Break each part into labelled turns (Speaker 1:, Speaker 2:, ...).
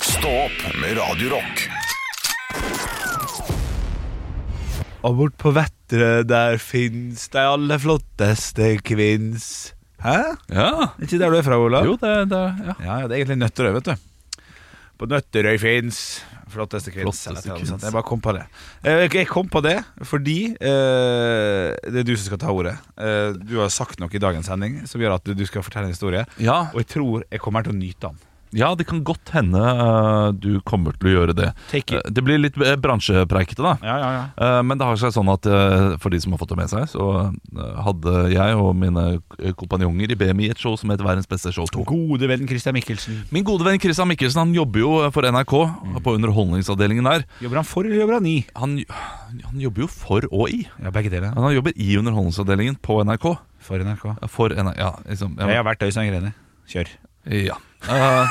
Speaker 1: Stå opp med Radio Rock.
Speaker 2: Og bort på Vettre der fins de aller flotteste kvinns Hæ?
Speaker 3: Ja.
Speaker 2: Er ikke der du er fra, Olav?
Speaker 3: Jo, det, det ja.
Speaker 2: Ja, ja, det er egentlig Nøtterøy, vet du. På Nøtterøy fins flotteste kvinns.
Speaker 3: Flotteste
Speaker 2: eller noe
Speaker 3: kvinns.
Speaker 2: sånt. Jeg bare kom på det. Eh, Jeg kom på det fordi eh, det er du som skal ta ordet. Eh, du har sagt noe i dagens sending som gjør at du- du skal fortelle en historie.
Speaker 3: Ja,
Speaker 2: Og jeg tror jeg kommer til å nyte den.
Speaker 3: ja, det kan godt hende eh, du kommer til å gjøre det.
Speaker 2: Take it.
Speaker 3: Eh, Det blir litt eh, bransjepreikete, da.
Speaker 2: Ja, ja, ja.
Speaker 3: Eh, Men det har seg sånn at eh, for de som har fått det med seg, så eh, hadde jeg og mine k- kompanjonger i BMI et show som het Verdens beste show 2.
Speaker 2: Gode vennen Christian Mikkelsen.
Speaker 3: Min gode venn Christian Mikkelsen han jobber jo for NRK på underholdningsavdelingen der.
Speaker 2: Jobber han for, eller jobber han i?
Speaker 3: Han, han jobber jo for og i.
Speaker 2: Ja, Begge deler.
Speaker 3: Han jobber i underholdningsavdelingen på NRK.
Speaker 2: For NRK.
Speaker 3: For NRK, ja, liksom,
Speaker 2: Jeg har vært Øystein Grene. Kjør.
Speaker 3: Ja. Eh,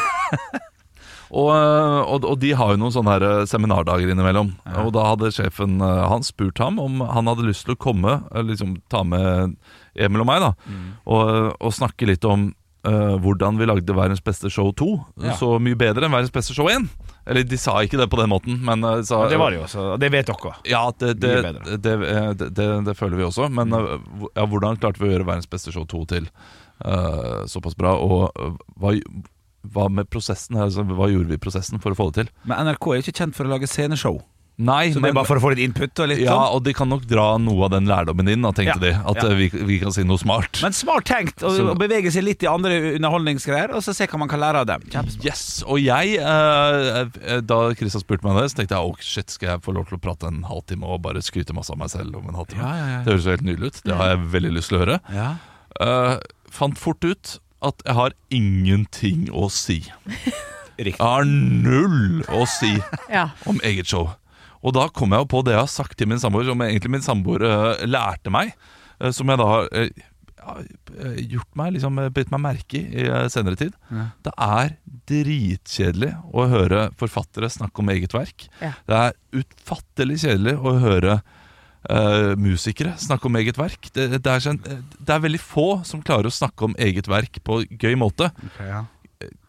Speaker 3: og, og, og de har jo noen sånne her eh, seminardager innimellom. Og da hadde sjefen eh, hans spurt ham om han hadde lyst til å komme, eh, liksom ta med Emil og meg, da,
Speaker 2: Mm.
Speaker 3: og, eh, og snakke litt om eh, hvordan vi lagde Verdens beste show 2.
Speaker 2: Ja.
Speaker 3: Så mye bedre enn Verdens beste show 1. Eller de sa ikke det på den måten, men eh, sa
Speaker 2: Men Det var det jo, så det vet dere.
Speaker 3: Ja, det,
Speaker 2: Mye
Speaker 3: det,
Speaker 2: bedre. Mm.
Speaker 3: det, eh, det, det, det føler vi også. Men eh, hvor- ja, hvordan klarte vi å gjøre verdens beste show 2 til eh, såpass bra? Og eh, hva, hva med prosessen? Altså, hva gjorde vi i prosessen for å få det til?
Speaker 2: Men NRK er jo ikke kjent for å lage sceneshow.
Speaker 3: Nei,
Speaker 2: Så det
Speaker 3: men,
Speaker 2: er bare for å få litt input og litt
Speaker 3: ja,
Speaker 2: sånn.
Speaker 3: og de kan nok dra noe av den lærdommen inn, da, tenkte
Speaker 2: Ja,
Speaker 3: de. At
Speaker 2: ja.
Speaker 3: eh, vi, vi kan si noe smart.
Speaker 2: Men smart tenkt å
Speaker 3: Så-
Speaker 2: å bevege seg litt i andre underholdningsgreier, og så se hva man kan lære av dem. Kjempesmart.
Speaker 3: Yes, og jeg eh, Da Kristian spurte meg det, så tenkte jeg oh, shit, skal jeg få lov til å prate en halvtime og bare skryte masse av meg selv om en halvtime?
Speaker 2: Ja, ja, ja.
Speaker 3: Det høres jo helt nydelig ut. Det har jeg veldig lyst til å høre.
Speaker 2: Ja.
Speaker 3: Eh, fant fort ut at jeg har ingenting å si.
Speaker 2: Riktig.
Speaker 3: Jeg har null å si
Speaker 4: Ja.
Speaker 3: om eget show. Og da kom jeg jo på det jeg har sagt til min samboer, som egentlig min samboer eh, lærte meg. eh, som jeg da har eh, ja, eh, gjort meg, liksom eh, bitt meg merke i i, eh, senere tid. Det er dritkjedelig å høre forfattere snakke om eget verk.
Speaker 4: Ja.
Speaker 3: Det er utfattelig kjedelig å høre eh, musikere snakke om eget verk. Det, det, er sånn, eh, det er veldig få som klarer å snakke om eget verk på gøy måte.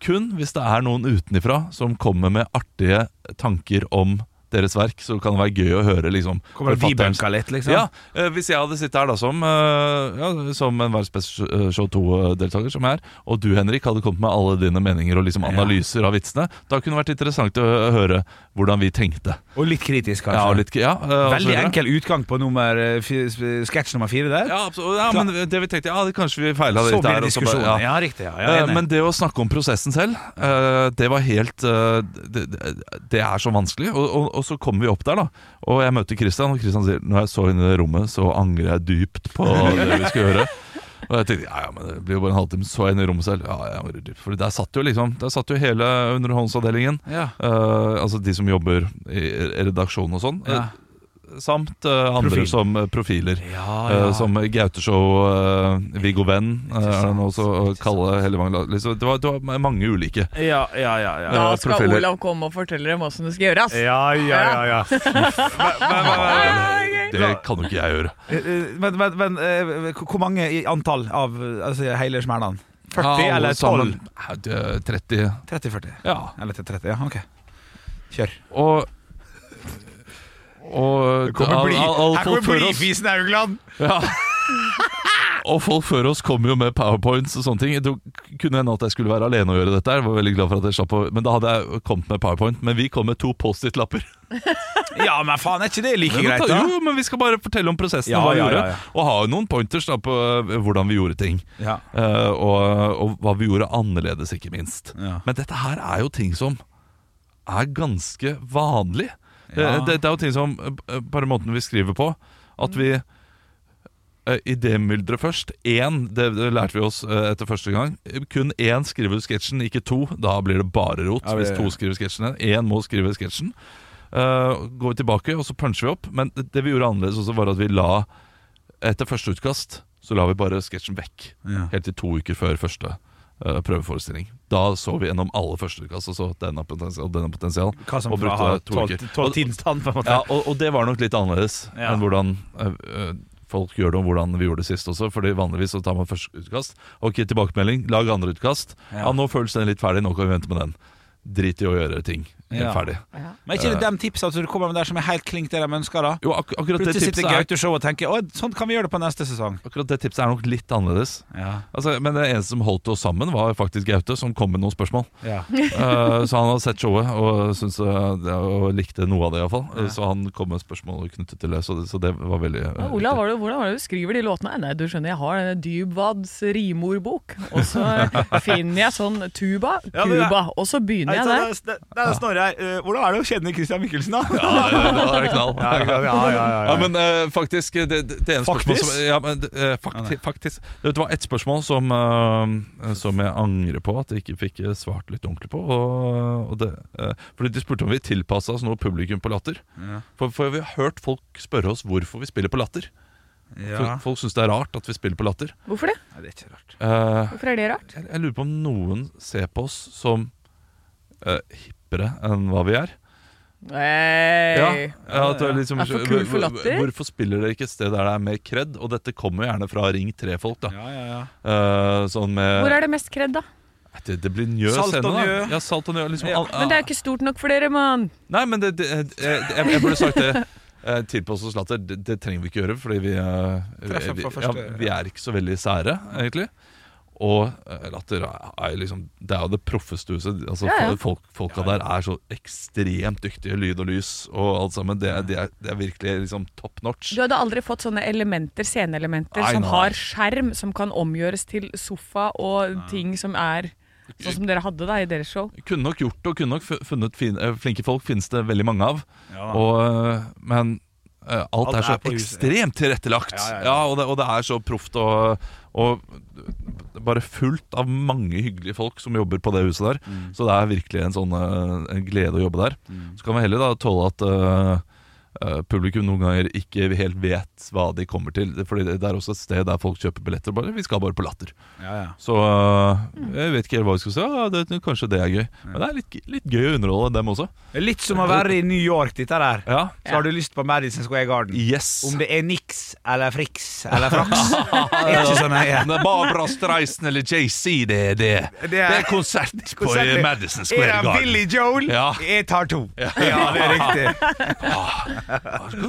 Speaker 3: Kun hvis det er noen utenifra som kommer med artige tanker om deres verk, så kan det være gøy å høre liksom
Speaker 2: Kommer det
Speaker 3: forfatterens-
Speaker 2: debunka litt, liksom?
Speaker 3: ja, eh, Hvis jeg hadde sittet her da som, eh, ja, som en Verdens beste sh- eh, show 2-deltaker, som jeg er, og du Henrik hadde kommet med alle dine meninger og liksom analyser av vitsene, da kunne det vært interessant å hø- høre hvordan vi tenkte.
Speaker 2: Og litt kritisk, kanskje.
Speaker 3: Ja, og litt, ja, eh, og så
Speaker 2: Veldig
Speaker 3: videre.
Speaker 2: enkel utgang på nummer, eh, fi- s- sketsj nummer fire der.
Speaker 3: Ja, absolutt. ja, men det vi tenkte, ja, det kanskje vi feila
Speaker 2: så
Speaker 3: litt
Speaker 2: blir
Speaker 3: der.
Speaker 2: det
Speaker 3: og så bare-
Speaker 2: diskusjon. Ja.
Speaker 3: ja.
Speaker 2: riktig. Ja, jeg er
Speaker 3: Eh,
Speaker 2: enig.
Speaker 3: Men det å snakke om prosessen selv, eh, det var helt eh, Det, det- det er så vanskelig. Og, og, og så kommer vi opp der, da. Og jeg møter Christian, og Christian sier når jeg så inn i det rommet, så angrer jeg dypt på det vi skulle gjøre. Og jeg tenkte ja, ja, men det blir jo bare en halvtime, så jeg inn i rommet selv. Ja, jeg angrer dypt. For der satt jo liksom Der satt jo hele underhåndsavdelingen.
Speaker 2: ja.
Speaker 3: eh, altså de som jobber i i redaksjonen og sånn. eh,
Speaker 2: Ja.
Speaker 3: Samt eh, andre
Speaker 2: Profil.
Speaker 3: som eh, profiler.
Speaker 2: Ja,
Speaker 3: Eh,
Speaker 2: ja.
Speaker 3: som Gauteshow, uh, Viggo Venn, eh, er det noe så- Kalle Hellevang liksom, det, var, det var mange ulike.
Speaker 2: ja, ja, ja, ja.
Speaker 4: Da
Speaker 3: Ja,
Speaker 4: skal
Speaker 3: profiler.
Speaker 4: Olav komme og fortelle dem åssen det skal gjøres.
Speaker 2: Eh, Ja, ja, ja, ja.
Speaker 3: Det kan jo ikke jeg gjøre.
Speaker 2: Eh, eh, Men, men, men eh, hvor mange i antall av eh, altså, hele smellene? 40
Speaker 3: Ja, alle
Speaker 2: eller 12?
Speaker 3: sammen. Ja, det er 30.
Speaker 2: 30-40.
Speaker 3: Ja.
Speaker 2: Eller til 30, ja, ok. Kjør.
Speaker 3: Og og, al- al- al- folk før oss-
Speaker 2: Augland!
Speaker 3: ja. og folk før oss kom jo med powerpoints og sånne ting. Det kunne hende at jeg skulle være alene og gjøre dette. her. Jeg var veldig glad for at jeg slapp å, Men da hadde jeg kommet med powerpoint. Men vi kom med to Post-It-lapper.
Speaker 2: Ja, men faen, er ikke det like
Speaker 3: Men
Speaker 2: greit,
Speaker 3: ta-
Speaker 2: da?
Speaker 3: Jo, jo, men vi skal bare fortelle om prosessen
Speaker 2: Ja,
Speaker 3: og hva vi
Speaker 2: ja, ja,
Speaker 3: gjorde.
Speaker 2: ja.
Speaker 3: Og ha jo noen pointers da på eh, hvordan vi gjorde ting.
Speaker 2: Ja.
Speaker 3: Eh, og, og hva vi gjorde annerledes, ikke minst.
Speaker 2: Ja.
Speaker 3: Men dette her er jo ting som er ganske vanlig.
Speaker 2: Ja.
Speaker 3: Eh, Det, det er jo ting som eh, Bare måten vi skriver på. At vi eh, idémyldre først. Én, det, det lærte vi oss eh, etter første gang. Kun én skriver ut sketsjen, ikke to. Da blir det bare rot.
Speaker 2: Ja, det-
Speaker 3: hvis to skriver sketsjen, én må skrive sketsjen. Eh, går vi tilbake, og så puncher vi opp. Men det det vi gjorde annerledes også, var at vi la Etter første utkast så la vi bare sketsjen vekk.
Speaker 2: Ja.
Speaker 3: Helt til to uker før første eh, prøveforestilling. Da så vi gjennom alle første utkast og så den har potensial, den har potensial.
Speaker 2: Hva som
Speaker 3: og
Speaker 2: fra
Speaker 3: brukte to
Speaker 2: tolv-
Speaker 3: uker.
Speaker 2: tolv
Speaker 3: Og-
Speaker 2: tidsstand, på en måte.
Speaker 3: ja, og, og det var nok litt annerledes
Speaker 2: Ja.
Speaker 3: enn hvordan eh, eh, folk gjør det, og hvordan vi gjorde det sist også. Fordi vanligvis så tar man første utkast. Ok, tilbakemelding, lag andre utkast. Ja,
Speaker 2: Ja.
Speaker 3: nå føles den litt ferdig, nå kan vi vente med den. drit i å gjøre ting. Helt
Speaker 2: Ja.
Speaker 3: ferdig.
Speaker 4: Ja.
Speaker 2: Men er ikke det de tipsene som du kommer med der som er helt klink det de ønsker? da?
Speaker 3: Jo, ak akkurat, det
Speaker 2: Plutselig sitter
Speaker 3: tipset er,
Speaker 2: Gaute Show og tenker Å, sånn kan vi gjøre det på neste sesong.
Speaker 3: akkurat det tipset er nok litt annerledes.
Speaker 2: Ja,
Speaker 3: Altså, men det eneste som holdt oss sammen, var faktisk Gaute, som kom med noen spørsmål.
Speaker 2: ja.
Speaker 3: Eh, så han hadde sett showet og, syntes, eh, det- og likte noe av det, iallfall. Uh, så han kom med spørsmål knyttet til det, så det, så det var veldig eh,
Speaker 4: Men Olav, var det, hvordan var det du skriver de låtene? Nei, du skjønner, jeg har denne Dybwads rimordbok, og så finner jeg sånn tuba,
Speaker 2: Ja, det er-
Speaker 4: Cuba, og så begynner jeg der.
Speaker 2: det, er Snorre her. Eh, hvordan er det å kjenne Christian Mikkelsen, da? Ja,
Speaker 3: Ja, det, det var knall.
Speaker 2: ja, ja, ja,
Speaker 3: Ja, men eh, faktisk det, det, det ene
Speaker 2: Faktisk?
Speaker 3: spørsmålet som, ja, men, eh, fakti, faktisk Det var ett spørsmål som, eh, som jeg angrer på at jeg ikke fikk eh, svart litt ordentlig på. Og, og det, eh, fordi de spurte om vi tilpassa oss noe publikum på latter. For, for vi har hørt folk spørre oss hvorfor vi spiller på latter.
Speaker 2: ja.
Speaker 3: Folk, folk syns det er rart at vi spiller på latter.
Speaker 4: Hvorfor det?
Speaker 2: Nei, det er ikke rart.
Speaker 3: Eh,
Speaker 4: Hvorfor er det rart?
Speaker 3: jeg, jeg lurer på om noen ser på oss som eh, hippere enn hva vi er. Ja,
Speaker 4: Nei.
Speaker 3: ja, at det er liksom,
Speaker 4: Er for kul for latter?
Speaker 3: Hvorfor spiller dere ikke et sted der det er mer kred? Og dette kommer jo gjerne fra Ring 3-folk. da
Speaker 2: Ja, ja, ja.
Speaker 3: Eh, Sånn med
Speaker 4: Hvor er det mest kred, da?
Speaker 3: det, det blir njø
Speaker 2: Salt og
Speaker 3: scene, da.
Speaker 2: njø.
Speaker 3: Ja, salt og njø liksom,
Speaker 2: Ja.
Speaker 3: al-
Speaker 4: Men det er ikke stort nok for dere, mann.
Speaker 3: Nei, men det, det, jeg, jeg, jeg burde sagt det. Eh, Tilpass oss latter, det, det trenger vi ikke gjøre, fordi vi, eh,
Speaker 2: Treffer
Speaker 3: vi,
Speaker 2: på første-
Speaker 3: ja, vi er ikke så veldig sære, egentlig. Og eh, latter er liksom Det er jo det proffeste huset. Altså,
Speaker 4: Ja, ja.
Speaker 3: Folk, folka der er så ekstremt dyktige. Lyd og lys og alt sammen. Det, er- det, er, det er virkelig liksom top notch.
Speaker 4: Du hadde aldri fått sånne elementer, sceneelementer,
Speaker 3: Nei,
Speaker 4: som
Speaker 3: nei.
Speaker 4: har skjerm, som kan omgjøres til sofa og ting som er sånn som dere hadde da i deres show.
Speaker 3: Kunne nok gjort det, og kunne nok fu- funnet fin, eh, flinke folk. Finnes det veldig mange av.
Speaker 2: Ja, da.
Speaker 3: Og, øh, men øh, alt,
Speaker 2: Alt
Speaker 3: er
Speaker 2: er
Speaker 3: så
Speaker 2: på huset, ja.
Speaker 3: ekstremt tilrettelagt. Ja,
Speaker 2: Ja, ja, ja.
Speaker 3: og, det, og det er så proft og, og bare fullt av mange hyggelige folk som jobber på det huset der.
Speaker 2: Mm.
Speaker 3: Så det er virkelig en, sånn, øh, en glede å jobbe der. Så kan vi heller da tåle at øh, øh, publikum noen ganger ikke helt vet hva de kommer til. Fordi det, det er også et sted der folk kjøper billetter. Bare, vi skal bare på Latter.
Speaker 2: ja, ja.
Speaker 3: Så øh, jeg vet ikke helt hva vi skal si. Ja, det, kanskje det er gøy. Men det er litt, litt gøy å underholde dem også.
Speaker 2: Det er Litt som å være i New York, dette der.
Speaker 3: Ja.
Speaker 2: Så har du lyst på Madison Square Garden.
Speaker 3: Yes.
Speaker 2: Om det er Nix eller Frix eller Frax. Det er ikke sånn, så nøye.
Speaker 3: Når Barbara Streisand eller JC, det er det. Det er, konsert på
Speaker 2: Konsert-
Speaker 3: eh, Madison
Speaker 2: Er
Speaker 3: Square
Speaker 2: det Billy Joel?
Speaker 3: Garden. Ja.
Speaker 2: Jeg tar to. Ja, det er riktig.
Speaker 3: Ah,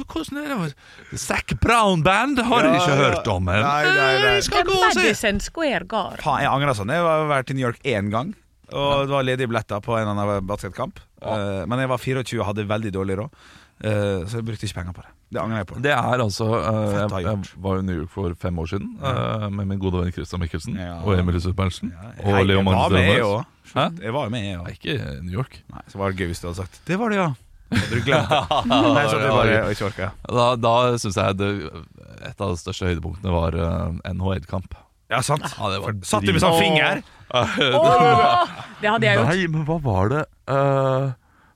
Speaker 3: Hvordan er det Zac Brown Band har jeg ikke hørt om. men-
Speaker 2: Nei, nei, nei.
Speaker 3: Eh, Jeg skal gå og se.
Speaker 4: Madison Square Garden.
Speaker 2: Faen, jeg angrer sånn. Jeg har vært i New York én gang. Og det var ledige billetter på en eller annen basketkamp. Eh, men jeg var 24 og hadde veldig dårlig råd, eh, så jeg brukte ikke penger på det. Det angrer jeg på.
Speaker 3: Det er altså eh,
Speaker 2: Fett å ha
Speaker 3: jeg, jeg var jo i New York for fem år siden eh, med min gode venn Christian Mikkelsen
Speaker 2: Ja.
Speaker 3: og Emilie Superberntsen.
Speaker 2: Hei,
Speaker 3: Og Leo
Speaker 2: Jeg var
Speaker 3: Magnus
Speaker 2: med, jeg
Speaker 3: Dønnes.
Speaker 2: òg.
Speaker 3: Hæ?
Speaker 2: Jeg var jo med, jeg
Speaker 3: Nei,
Speaker 2: òg.
Speaker 3: Ikke i New York.
Speaker 2: Nei, Så var det gøy hvis du hadde sagt 'Det var det, ja'. Hadde du glemt det. Nei, så hadde du bare ikke orka.
Speaker 3: Da, da syns jeg det, et av de største høydepunktene var eh, NHL-kamp.
Speaker 2: Ja, sant.
Speaker 3: Ja, det var
Speaker 2: Satt du med sånn
Speaker 3: drit.
Speaker 2: finger?
Speaker 4: Åh, det hadde jeg gjort.
Speaker 3: Nei, men hva var det eh,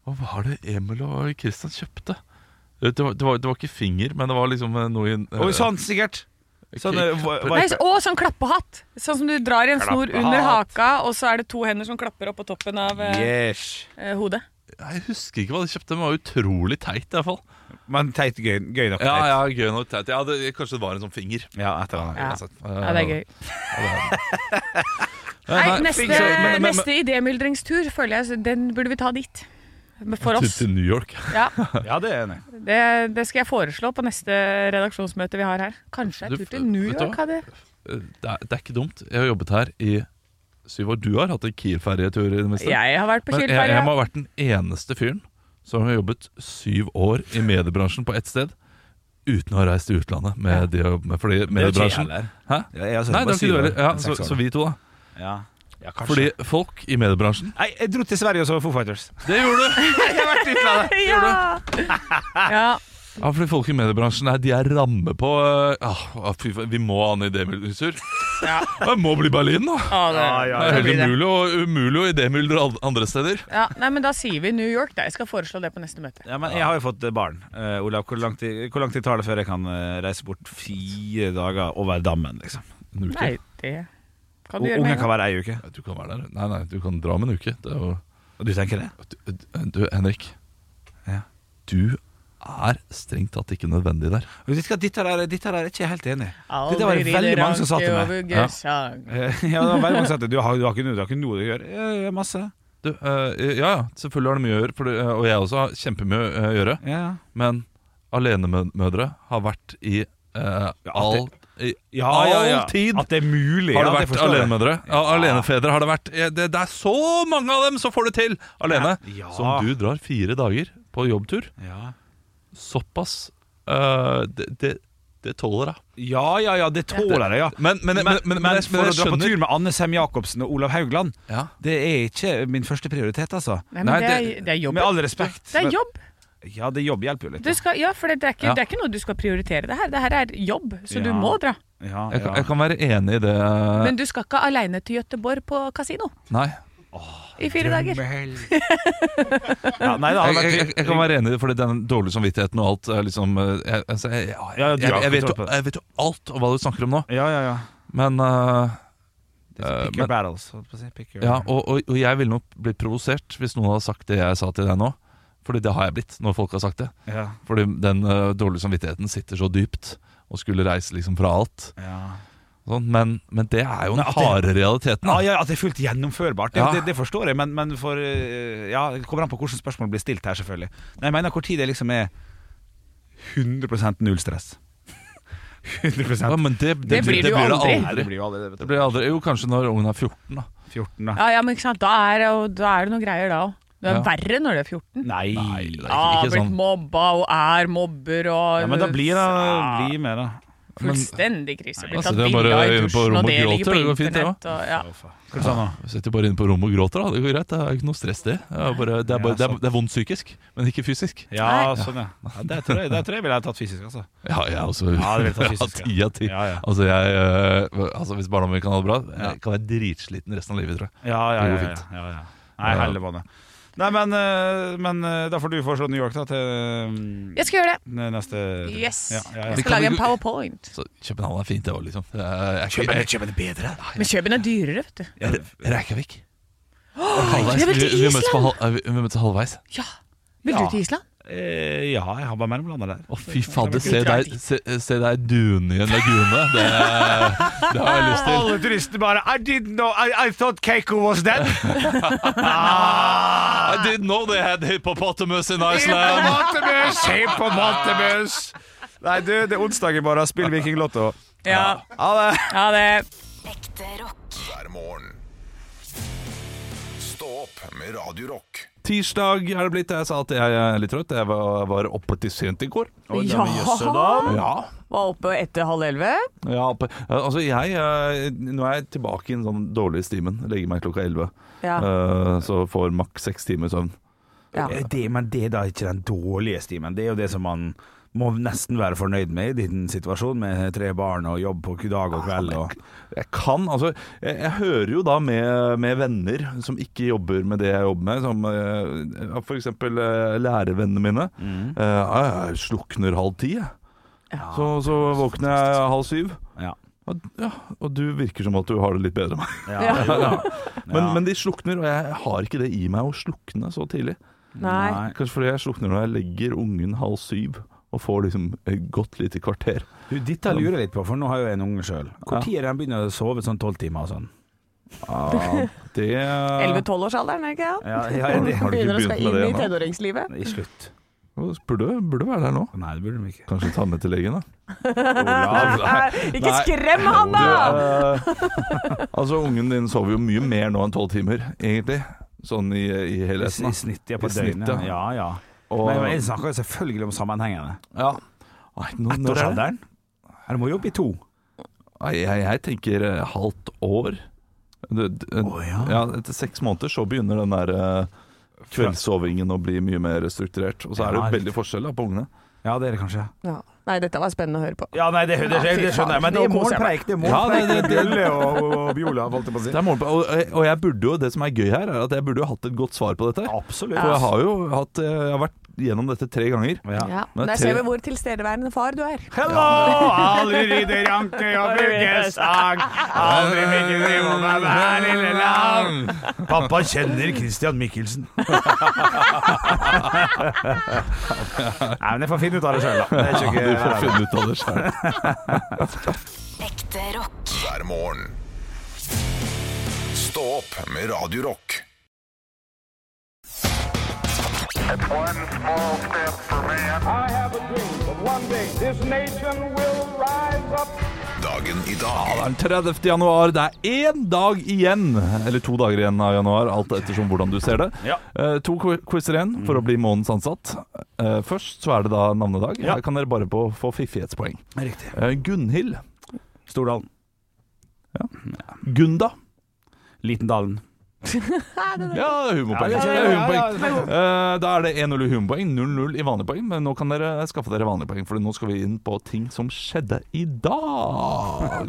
Speaker 3: Hva var det Emil og Kristian kjøpte? Det var, det, var, det var ikke finger, men det var liksom eh, noe i en eh,
Speaker 2: Og sånn, sikkert. Sånn, eh, hva- hva-
Speaker 4: Nei, så- å, sånn klappehatt! Sånn som du drar i en snor under
Speaker 2: Klappehatt.
Speaker 4: haka, og så er det to hender som klapper opp på toppen av eh,
Speaker 2: Yes.
Speaker 4: eh, hodet.
Speaker 3: Jeg husker ikke hva de kjøpte, men det var utrolig teit. i hvert fall
Speaker 2: Men teit gøy, gøy nok.
Speaker 3: Ja,
Speaker 2: teit.
Speaker 3: ja, gøy nok teit ja, det, Kanskje det var en sånn finger.
Speaker 2: Ja, et eller annet.
Speaker 4: Ja.
Speaker 3: Uansett.
Speaker 4: Ja, det er gøy.
Speaker 3: Eh,
Speaker 4: Nei,
Speaker 3: nei,
Speaker 4: neste,
Speaker 3: finger- men- men- men-
Speaker 4: neste idémyldringstur føler jeg den burde vi ta dit. Men For
Speaker 3: til,
Speaker 4: oss.
Speaker 3: til New York.
Speaker 4: Ja,
Speaker 2: Ja, det er jeg enig. i.
Speaker 4: det, det skal jeg foreslå på neste redaksjonsmøte vi har her. Kanskje
Speaker 3: Du,
Speaker 4: en tur til New
Speaker 3: vet du
Speaker 4: York?
Speaker 3: hva?
Speaker 4: hadde-
Speaker 3: Eh, Det er, det er ikke dumt. Jeg har jobbet her i syv år. Du har hatt en Kiel-ferjetur i det meste.
Speaker 4: Jeg har vært på
Speaker 3: Men jeg, jeg må
Speaker 4: Kielferja.
Speaker 3: ha vært den eneste fyren som har jobbet syv år i mediebransjen på ett sted uten å ha reist til utlandet med det å jobbe med. Fordi
Speaker 2: Det er jo
Speaker 3: mediebransjen
Speaker 2: ikke jeg heller.
Speaker 3: Hæ?
Speaker 2: Ja, jeg har sittet
Speaker 3: Nei, liksom. det
Speaker 2: på
Speaker 3: var ikke du
Speaker 2: syv år,
Speaker 3: heller. Ja,
Speaker 2: enn
Speaker 3: så,
Speaker 2: seks år.
Speaker 3: så vi to, da.
Speaker 2: Ja. ja, kanskje.
Speaker 3: Fordi folk i mediebransjen
Speaker 2: Nei, jeg dro til Sverige og så Foo Fighters.
Speaker 3: Det gjorde du!
Speaker 2: Jeg har vært i utlandet.
Speaker 4: Ja. ja.
Speaker 3: Ja, fordi folk i mediebransjen er, de er ramme på øh, ah, Fy faen, vi må ha en idémyldresur.
Speaker 4: Ja.
Speaker 3: Det må bli Berlin, da!
Speaker 4: Å, det,
Speaker 2: Ja, ja,
Speaker 3: Det er
Speaker 4: det blir
Speaker 3: helt
Speaker 4: det.
Speaker 3: umulig, å- umulig å idémyldre al- andre steder.
Speaker 4: Ja, nei, men Da sier vi New York. Da. Jeg skal foreslå det på neste møte.
Speaker 2: Ja, men jeg har jo fått eh, barn. Eh, Olav, hvor lang, tid, hvor lang tid tar det før jeg kan eh, reise bort fire dager over dammen, liksom?
Speaker 3: En uke.
Speaker 4: Nei, det kan du
Speaker 2: Og
Speaker 4: gjøre
Speaker 2: Ungen
Speaker 4: med
Speaker 2: kan
Speaker 4: en gang.
Speaker 2: være ei uke.
Speaker 3: Ja, Du kan være der. Nei, nei, du kan dra om en uke. Det er jo
Speaker 2: Og du tenker det?
Speaker 3: Du, eh, du Henrik.
Speaker 2: Ja.
Speaker 3: Du er strengt tatt ikke nødvendig der.
Speaker 2: Og Vet du hva, dette der, dette der er ikke jeg helt enig i. Dette var
Speaker 4: Aldri
Speaker 2: det veldig
Speaker 4: ridder
Speaker 2: mange som sa til
Speaker 4: anker
Speaker 2: meg.
Speaker 4: over
Speaker 3: Ja.
Speaker 4: Gøsang.
Speaker 2: Eh, ja, det var veldig mange som sa at du har, du, har ikke, noe- du har ikke noe du gjør. Eh, Jeg har masse.
Speaker 3: Du, eh, ja, ja, selvfølgelig har det mye å gjøre, for det, og jeg også har kjempemye eh, å gjøre.
Speaker 2: Ja, ja.
Speaker 3: Men alenemødre har vært i eh, all i,
Speaker 2: Ah, Ja,
Speaker 3: all
Speaker 2: ja, ja.
Speaker 3: tid
Speaker 2: At det er mulig.
Speaker 3: har det
Speaker 2: ja, det
Speaker 3: vært
Speaker 2: forstår jeg.
Speaker 3: alenemødre. Ja, alenefedre har det vært. Eh, Det, det er så mange av dem som får det til alene!
Speaker 2: Ja.
Speaker 3: Som du drar fire dager på jobbtur.
Speaker 2: Ja.
Speaker 3: Såpass eh, det, det, det tåler jeg.
Speaker 2: ja, ja, ja, det tåler jeg, ja.
Speaker 3: Men, men, men, men, men, jeg-
Speaker 2: for
Speaker 3: men
Speaker 2: å
Speaker 3: jeg
Speaker 2: dra på
Speaker 3: skjønner
Speaker 2: tur med Anne Sem Jacobsen og Olav Haugland,
Speaker 3: ja.
Speaker 2: det er ikke min første prioritet, altså.
Speaker 4: Nei, men
Speaker 3: Nei,
Speaker 4: det,
Speaker 3: det-
Speaker 4: er, det er jobb.
Speaker 2: Med all respekt.
Speaker 4: Det er jobb.
Speaker 2: Ja, det jobb hjelper jo litt.
Speaker 4: Du skal, ja, for det, det, er ikke,
Speaker 3: Ja.
Speaker 4: det er ikke noe du skal prioritere. Det her, det her er jobb, så du
Speaker 2: Ja.
Speaker 4: må dra.
Speaker 2: Ja,
Speaker 3: Jeg, kan-
Speaker 2: ja.
Speaker 3: jeg kan være enig i det.
Speaker 4: Men du skal ikke aleine til Gøteborg på kasino
Speaker 3: Nei.
Speaker 4: i fire dager.
Speaker 2: ja, nei, det hadde
Speaker 3: Jeg,
Speaker 2: vært
Speaker 3: jeg, jeg, jeg kan være enig i det, fordi den dårlige samvittigheten og alt er liksom eh, Jeg, altså, jeg, ja,
Speaker 2: Ja,
Speaker 3: jeg,
Speaker 2: du har
Speaker 3: jeg, jeg, vet,
Speaker 2: kontroll
Speaker 3: jo,
Speaker 2: på det.
Speaker 3: jeg vet jo alt om hva du snakker om nå,
Speaker 2: Ja, ja, ja.
Speaker 3: men eh,
Speaker 2: Det er sånn
Speaker 3: Eh,
Speaker 2: Pick your
Speaker 3: men-
Speaker 2: battles. holdt på å si. Pick your...
Speaker 3: Ja, og, og, og jeg ville nok blitt provosert hvis noen hadde sagt det jeg sa til deg nå. Fordi det har jeg blitt når folk har sagt det.
Speaker 2: ja,
Speaker 3: Fordi den eh, dårlige samvittigheten sitter så dypt og skulle reise liksom fra alt.
Speaker 2: ja.
Speaker 3: og Sånn. Men, men det er jo
Speaker 2: Men
Speaker 3: den
Speaker 2: at det-
Speaker 3: harde
Speaker 2: Ja,
Speaker 3: realiteten. Da.
Speaker 2: Ah, ja, At det er fullt gjennomførbart, det,
Speaker 3: Ja.
Speaker 2: det, det forstår jeg. Men, men for eh, Ja, det kommer an på hvordan spørsmål blir stilt her, selvfølgelig. Nei, jeg mener hvor tid det liksom er 100 null stress. 100
Speaker 3: Ja, men det, det,
Speaker 4: Det blir det jo aldri.
Speaker 2: Nei, det blir jo aldri det. vet du.
Speaker 3: Det blir aldri. Jo, kanskje når ungen er 14, da.
Speaker 2: 14, da.
Speaker 4: Ja, ja, men ikke sant? Da, er, det jo- da er det noen greier da òg. Det er
Speaker 3: Ja.
Speaker 4: verre når du er 14.
Speaker 2: Nei.
Speaker 3: Nei, det er
Speaker 4: Ja,
Speaker 3: ikke,
Speaker 4: har
Speaker 3: ikke
Speaker 4: blitt
Speaker 3: sånn.
Speaker 4: mobba og er mobber og
Speaker 2: Ja, men da blir
Speaker 4: Ja,
Speaker 2: det blir med, da.
Speaker 4: Fullstendig krise. Blir
Speaker 3: Altså,
Speaker 4: tatt
Speaker 3: det er bare
Speaker 4: bilder i
Speaker 3: inne på
Speaker 4: dusjen,
Speaker 3: rommet
Speaker 4: og det
Speaker 3: og
Speaker 4: ligger på
Speaker 3: gråter, det går fint, det
Speaker 4: internett. Og, ja.
Speaker 2: Å, faen. Hva sa du nå?
Speaker 3: Jeg sitter bare inne på rommet og gråter, da. Det går greit. Det er ikke noe stress, det. Det er, bare, det
Speaker 2: Ja,
Speaker 3: er, bare, det er,
Speaker 2: sant.
Speaker 3: det er vondt psykisk, men ikke fysisk.
Speaker 2: Ja, sånn, ja. ja det, tror jeg, det tror jeg ville jeg tatt fysisk, altså.
Speaker 3: Ja, jeg er også.
Speaker 2: Ja, det vil ta fysisk, ja.
Speaker 3: Ti av ti.
Speaker 2: Ja, ja.
Speaker 3: Altså, jeg, øh, altså Hvis barna mine kan ha det bra,
Speaker 2: Ja.
Speaker 3: jeg kan være dritsliten resten av livet. tror jeg
Speaker 2: Ja, ja, ja,
Speaker 3: Det går
Speaker 2: ja,
Speaker 3: fint.
Speaker 2: ja, ja. Nei, hellebane Nei, men, eh, men eh, da får du foreslå New York da til mm,
Speaker 4: Jeg skal gjøre det.
Speaker 2: n- neste
Speaker 4: Yes.
Speaker 2: ja, ja,
Speaker 4: Jeg
Speaker 2: ja.
Speaker 3: Vi
Speaker 4: skal
Speaker 3: kan
Speaker 4: lage en
Speaker 3: jo-
Speaker 4: powerpoint.
Speaker 3: Så København er fint, det òg, liksom. Det er- Jeg, jeg, jeg,
Speaker 1: det bedre.
Speaker 4: Men Kjøben er dyrere, vet du.
Speaker 3: jeg, Reykjavik.
Speaker 4: jeg vil
Speaker 3: Halvveis.
Speaker 4: til
Speaker 3: Vi, vi, møtes på
Speaker 4: Island!
Speaker 3: halv, eh, vi, vi møtes halvveis.
Speaker 4: Ja. Vil
Speaker 2: Ja.
Speaker 4: du til Island?
Speaker 2: Eh, ja, jeg har bare mellomlanda der.
Speaker 3: Å, fy fader.
Speaker 4: blir
Speaker 3: Se
Speaker 4: drar
Speaker 3: deg, se, se deg dune i en lagune. Det, det har jeg lyst til.
Speaker 2: Alle turistene bare I didn't know I, I thought Keiko was dead.
Speaker 3: I didn't know they had hippopotamus in Iceland.
Speaker 2: Hippopotamus! Hippopotamus! Nei, du, det er onsdag i morgen. Spill Viking Lotto.
Speaker 4: Ja.
Speaker 2: Ha det!
Speaker 4: ja det
Speaker 5: Ekte rock.
Speaker 1: hver morgen. Stå opp med Radio Rock.
Speaker 3: Tirsdag er det blitt. Jeg sa at jeg er litt trøtt. Jeg var, var oppe til sent i går.
Speaker 4: Ja!
Speaker 3: Ja,
Speaker 4: Var oppe etter halv elleve.
Speaker 3: Ja, oppe- altså jeg, eh, Nå er jeg tilbake i en sånn dårlig stimen. Legger meg klokka 11.
Speaker 4: Ja.
Speaker 3: eh, Så får maks seks timer søvn.
Speaker 4: Ja.
Speaker 2: Eh, Det, men det er da ikke den dårlige stimen. Det er jo det som man må nesten være fornøyd med i din situasjon, med tre barn og jobb på dag og kveld. Og
Speaker 3: Jeg kan, altså Jeg, jeg hører jo da med, med venner som ikke jobber med det jeg jobber med, som eh, ja, for eksempel eh, lærervennene mine.
Speaker 2: Mm.
Speaker 3: Eh, ja, jeg slukner halv ti, jeg. Så, så våkner jeg halv syv.
Speaker 2: ja.
Speaker 3: Og- Ja, og du virker som at du har det litt bedre enn meg.
Speaker 4: Ja.
Speaker 2: jo.
Speaker 3: Men,
Speaker 2: Ja.
Speaker 3: men de slukner, og jeg har ikke det i meg å slukne så tidlig.
Speaker 4: Nei.
Speaker 2: Nei.
Speaker 3: Kanskje fordi jeg slukner når jeg legger ungen halv syv og får liksom et godt lite kvarter.
Speaker 2: Du, dette lurer jeg litt på, for nå har jo jeg en unge sjøl.
Speaker 3: Ja.
Speaker 2: Når er den begynner å sove sånn tolv timer og sånn?
Speaker 3: Det eh,
Speaker 4: Elleve-tolvårsalderen, er det ikke det?
Speaker 2: Ja, ja, det
Speaker 3: Har du ikke
Speaker 4: Begynner å
Speaker 3: begynt
Speaker 4: skal
Speaker 3: med
Speaker 4: inn
Speaker 3: det
Speaker 4: i
Speaker 3: ennå?
Speaker 4: tenåringslivet.
Speaker 2: I slutt.
Speaker 3: Burde, burde være der nå.
Speaker 2: Nei, det burde de ikke.
Speaker 3: Kanskje ta med til legen, da.
Speaker 4: Ikke skrem han, da!
Speaker 3: eh, altså, ungen din sover jo mye mer nå enn tolv timer, egentlig. Sånn i, i
Speaker 2: I i
Speaker 3: helheten. da.
Speaker 2: snitt, ja. På
Speaker 3: I snitt,
Speaker 2: døgnet. Ja,
Speaker 3: ja.
Speaker 2: ja.
Speaker 3: Og,
Speaker 2: Men jeg snakker jo selvfølgelig om sammenhengene.
Speaker 3: ja. Nei, nå, når er det?
Speaker 2: Ettårsalderen? Ja, Du må jo opp i to.
Speaker 3: Nei, jeg, jeg tenker eh, halvt år. Det- det-
Speaker 2: Å, ja.
Speaker 3: Etter seks måneder så begynner den der eh, kveldssovingen å bli mye mer strukturert. Og så er det
Speaker 2: Ja,
Speaker 3: jo
Speaker 2: riktig.
Speaker 3: veldig forskjell da, på ungene.
Speaker 2: Ja, det er det kanskje.
Speaker 4: Ja. Nei, dette var spennende å høre på.
Speaker 2: Ja, nei, det, det, det, det skjønner jeg, men det er
Speaker 4: Det koser jeg
Speaker 2: målpreik. Det er
Speaker 3: Ja,
Speaker 2: målpreik.
Speaker 3: det- det- det-
Speaker 2: Bjølle og, og Biola, holdt jeg på å si.
Speaker 3: Det er målpå- og, og jeg burde jo, det som er gøy her, er at jeg burde jo hatt et godt svar på dette.
Speaker 2: Absolutt.
Speaker 3: For jeg har jo hatt, eh, jeg har vært gjennom dette tre ganger.
Speaker 4: Ja.
Speaker 3: Men
Speaker 4: Der
Speaker 3: tre-
Speaker 4: ser vi hvor tilstedeværende far du er.
Speaker 2: Hello! Aldri ridder Janke og Buggesang. Aldri Mikkel Rivo, men hver lille lam. Pappa kjenner Christian Mikkelsen. Nei, men jeg får finne ut av det sjøl, da. Det er
Speaker 3: Du får
Speaker 2: ikke
Speaker 3: finne ut av det selv.
Speaker 5: Ekte rock.
Speaker 1: hver morgen. Stå opp med Radio Rock.
Speaker 6: It's one small step for man.
Speaker 7: I have a dream that one day this nation will rise up.
Speaker 1: Dagen i
Speaker 3: Det
Speaker 1: dag
Speaker 3: er den 30. januar. Det er én dag igjen, eller to dager igjen av januar, alt ettersom hvordan du ser det. Eh, to qu- quizer igjen for å bli månedens ansatt. Eh, først så er det da navnedag. Her kan dere bare på, få fiffighetspoeng.
Speaker 8: Riktig.
Speaker 3: Eh, Gunhild.
Speaker 2: Stordalen.
Speaker 3: Gunda.
Speaker 2: Litendalen.
Speaker 3: Ja, det er humorpoeng.
Speaker 2: Ja, ja,
Speaker 3: Det er
Speaker 2: ja, ja,
Speaker 3: humorpoeng. Eh, da er det 1-0 i humorpoeng, 0-0 i vanlige poeng, men nå kan dere skaffe dere vanlige poeng, for nå skal vi inn på ting som skjedde i dag.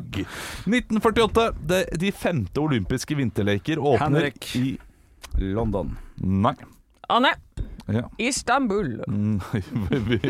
Speaker 3: 1948. Det, de femte olympiske vinterleker åpner
Speaker 2: Henrik.
Speaker 3: i
Speaker 2: London.
Speaker 3: Nei.
Speaker 9: Anne,
Speaker 3: Ja.
Speaker 9: Istanbul.
Speaker 3: Mm,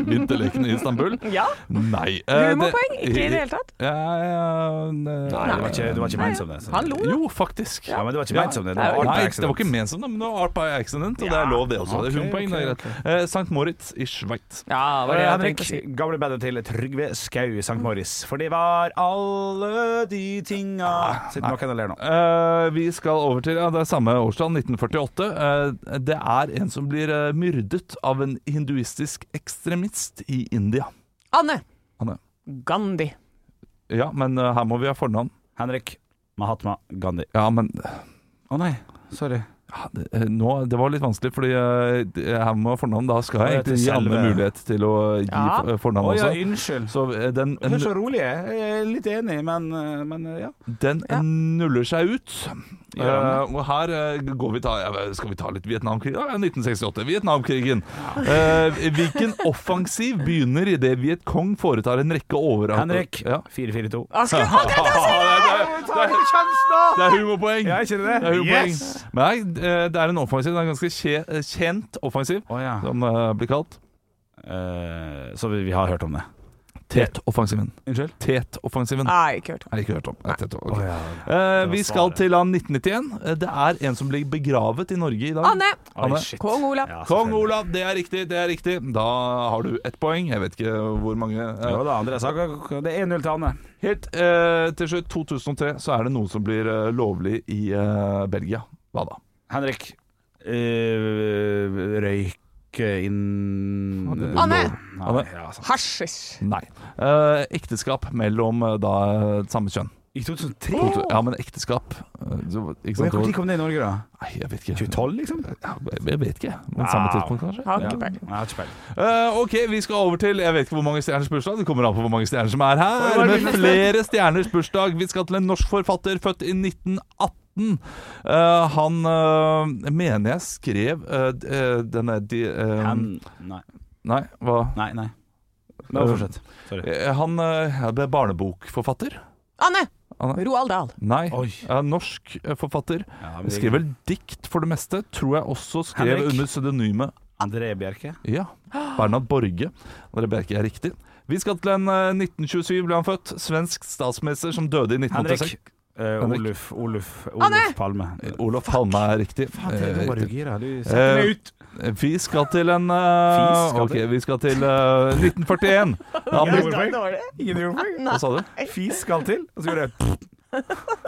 Speaker 3: Vinterlekene i Istanbul?
Speaker 9: Ja,
Speaker 3: Nei. eh,
Speaker 9: humorpoeng. Ikke i det hele tatt.
Speaker 3: Ja, ja, ne-
Speaker 2: Nei, det var ikke, det var ikke ment som det.
Speaker 9: Han lo, da.
Speaker 3: Jo, faktisk.
Speaker 2: Ja, men det var ikke ment som det. Det
Speaker 9: Nei,
Speaker 2: var
Speaker 3: Nei,
Speaker 2: Art
Speaker 3: det var ikke ment som det, men det var art by accident, og det er lov, det også. det er humorpoeng, det er greit. Eh, Sankt Moritz i Sveits.
Speaker 9: Ja, det var det jeg
Speaker 2: Henrik,
Speaker 9: tenkte å si.
Speaker 2: gamle bandet til Trygve Skau i St. Morris. For det var alle de tinga Sitter noen og ler nå.
Speaker 3: Eh, vi skal over til ja, det er samme årstall, 1948. Eh, det er en som blir eh, myrdet av en hinduistisk ekstremist i India.
Speaker 9: Anne.
Speaker 3: Anne.
Speaker 9: Gandhi.
Speaker 3: Ja, men eh, her må vi ha fornavn.
Speaker 2: Henrik Mahatma Gandhi.
Speaker 3: Ja, men
Speaker 2: Å nei, sorry.
Speaker 3: ja, det, eh, nå, det var litt vanskelig, fordi eh, det- her må jeg ha fornavn. Da skal jeg
Speaker 2: Og det er
Speaker 3: egentlig gi
Speaker 2: til
Speaker 3: Anne
Speaker 2: selve-
Speaker 3: mulighet til å gi
Speaker 9: Ja.
Speaker 3: for- fornavn
Speaker 2: Å ja,
Speaker 3: også.
Speaker 2: unnskyld.
Speaker 3: Så eh, den,
Speaker 2: Det er så rolig. Jeg er litt enig, men, eh, men eh, ja.
Speaker 3: den
Speaker 9: Ja.
Speaker 3: nuller seg ut.
Speaker 2: Gjør
Speaker 3: Eh, og her eh, går vi ta, ja, skal vi ta litt Vietnamkrig? Ja, 1968. Vietnamkrigen. Eh, hvilken offensiv begynner idet Viet Cong foretar en rekke over...
Speaker 2: Henrik.
Speaker 3: Ja.
Speaker 2: 442.
Speaker 9: Asker, akkurat det jeg sa!
Speaker 3: Det er humorpoeng!
Speaker 2: Ja, ikke det?
Speaker 3: Det er humorpoeng.
Speaker 2: Yes!
Speaker 3: Men Nei, eh, det er en offensiv. Det er en ganske kje, eh, kjent offensiv,
Speaker 2: Å ja.
Speaker 3: som eh, blir kalt.
Speaker 2: Eh, så vi, vi har hørt om det.
Speaker 3: Tet-offensiven.
Speaker 2: Unnskyld?
Speaker 3: Tet-offensiven.
Speaker 9: Nei, ikke hørt om.
Speaker 3: Har ikke hørt om. Nei, tet ok.
Speaker 2: Å ja.
Speaker 3: Eh, vi skal til da 1991. Eh, Det er en som blir begravet i Norge i dag.
Speaker 9: Anne.
Speaker 2: Oi,
Speaker 3: Anne.
Speaker 2: shit.
Speaker 9: Kong Olav.
Speaker 2: Ja,
Speaker 3: Kong
Speaker 2: selvfølgelig.
Speaker 3: Olav, det er riktig, det er riktig. Da har du ett poeng. Jeg vet ikke hvor mange. eh,
Speaker 2: Jo da, Andreas Haga. Det er 1-0 til Anne.
Speaker 3: Helt eh, til slutt, 2003, så er det noe som blir eh, lovlig i eh, Belgia. Hva da?
Speaker 2: Henrik. eh, røyke inn
Speaker 9: Anne.
Speaker 2: Nei, ja, sant.
Speaker 9: Hasjis.
Speaker 3: Nei. Eh, ekteskap mellom eh, da samme kjønn.
Speaker 2: I 2003?
Speaker 3: To- Ja, men ekteskap eh, så, Ikke sant?
Speaker 2: Når kom det i Norge, da?
Speaker 3: Nei, jeg vet ikke.
Speaker 2: 2012, liksom?
Speaker 3: Ja, jeg- jeg vet ikke. Men samme
Speaker 2: Wow.
Speaker 3: tidspunkt, kanskje?
Speaker 9: Har ikke
Speaker 2: Ja.
Speaker 9: peiling.
Speaker 2: Jeg har ikke peiling.
Speaker 3: Eh, ok, vi skal over til Jeg vet ikke hvor mange stjerners bursdag. Det kommer an på hvor mange stjerner som er her.
Speaker 2: Oi, oi, oi.
Speaker 3: Med flere stjerners bursdag. Vi skal til en norsk forfatter født i 1918. Eh, han eh, mener jeg skrev eh, d- eh, denne de, eh,
Speaker 2: Hen- Nei,
Speaker 3: Nei, hva?
Speaker 2: nei. nei. Nå fortsett.
Speaker 3: Eh, Han eh, ja, det er barnebokforfatter.
Speaker 9: Anne.
Speaker 3: Anne.
Speaker 9: Roald Dahl.
Speaker 3: Nei.
Speaker 2: Oi.
Speaker 3: Ja, norsk eh, forfatter.
Speaker 2: Ja, men det-
Speaker 3: Skrev vel dikt for det meste. Tror jeg også skrev
Speaker 2: Henrik.
Speaker 3: under pseudonymet
Speaker 2: André Bjerke.
Speaker 3: Ja, Bernhard Borge. Dere Bjerke er riktig. Vi skal til en eh, 1927 ble han født. Svensk statsminister som døde i
Speaker 2: Henrik.
Speaker 3: 1986.
Speaker 2: Eh,
Speaker 3: Henrik.
Speaker 2: Oluf, Oluf,
Speaker 9: Anne!
Speaker 2: Oluf Palme.
Speaker 3: Olof Palme er riktig. Eh, riktig.
Speaker 2: Eh,
Speaker 3: Eh, vi skal til en eh,
Speaker 2: Fis skal
Speaker 3: Ok,
Speaker 2: til.
Speaker 3: vi skal til eh, 1941. Da han ble,
Speaker 2: Ingen humorpoeng.
Speaker 3: hva sa du?
Speaker 2: Fis skal til, og så gjør det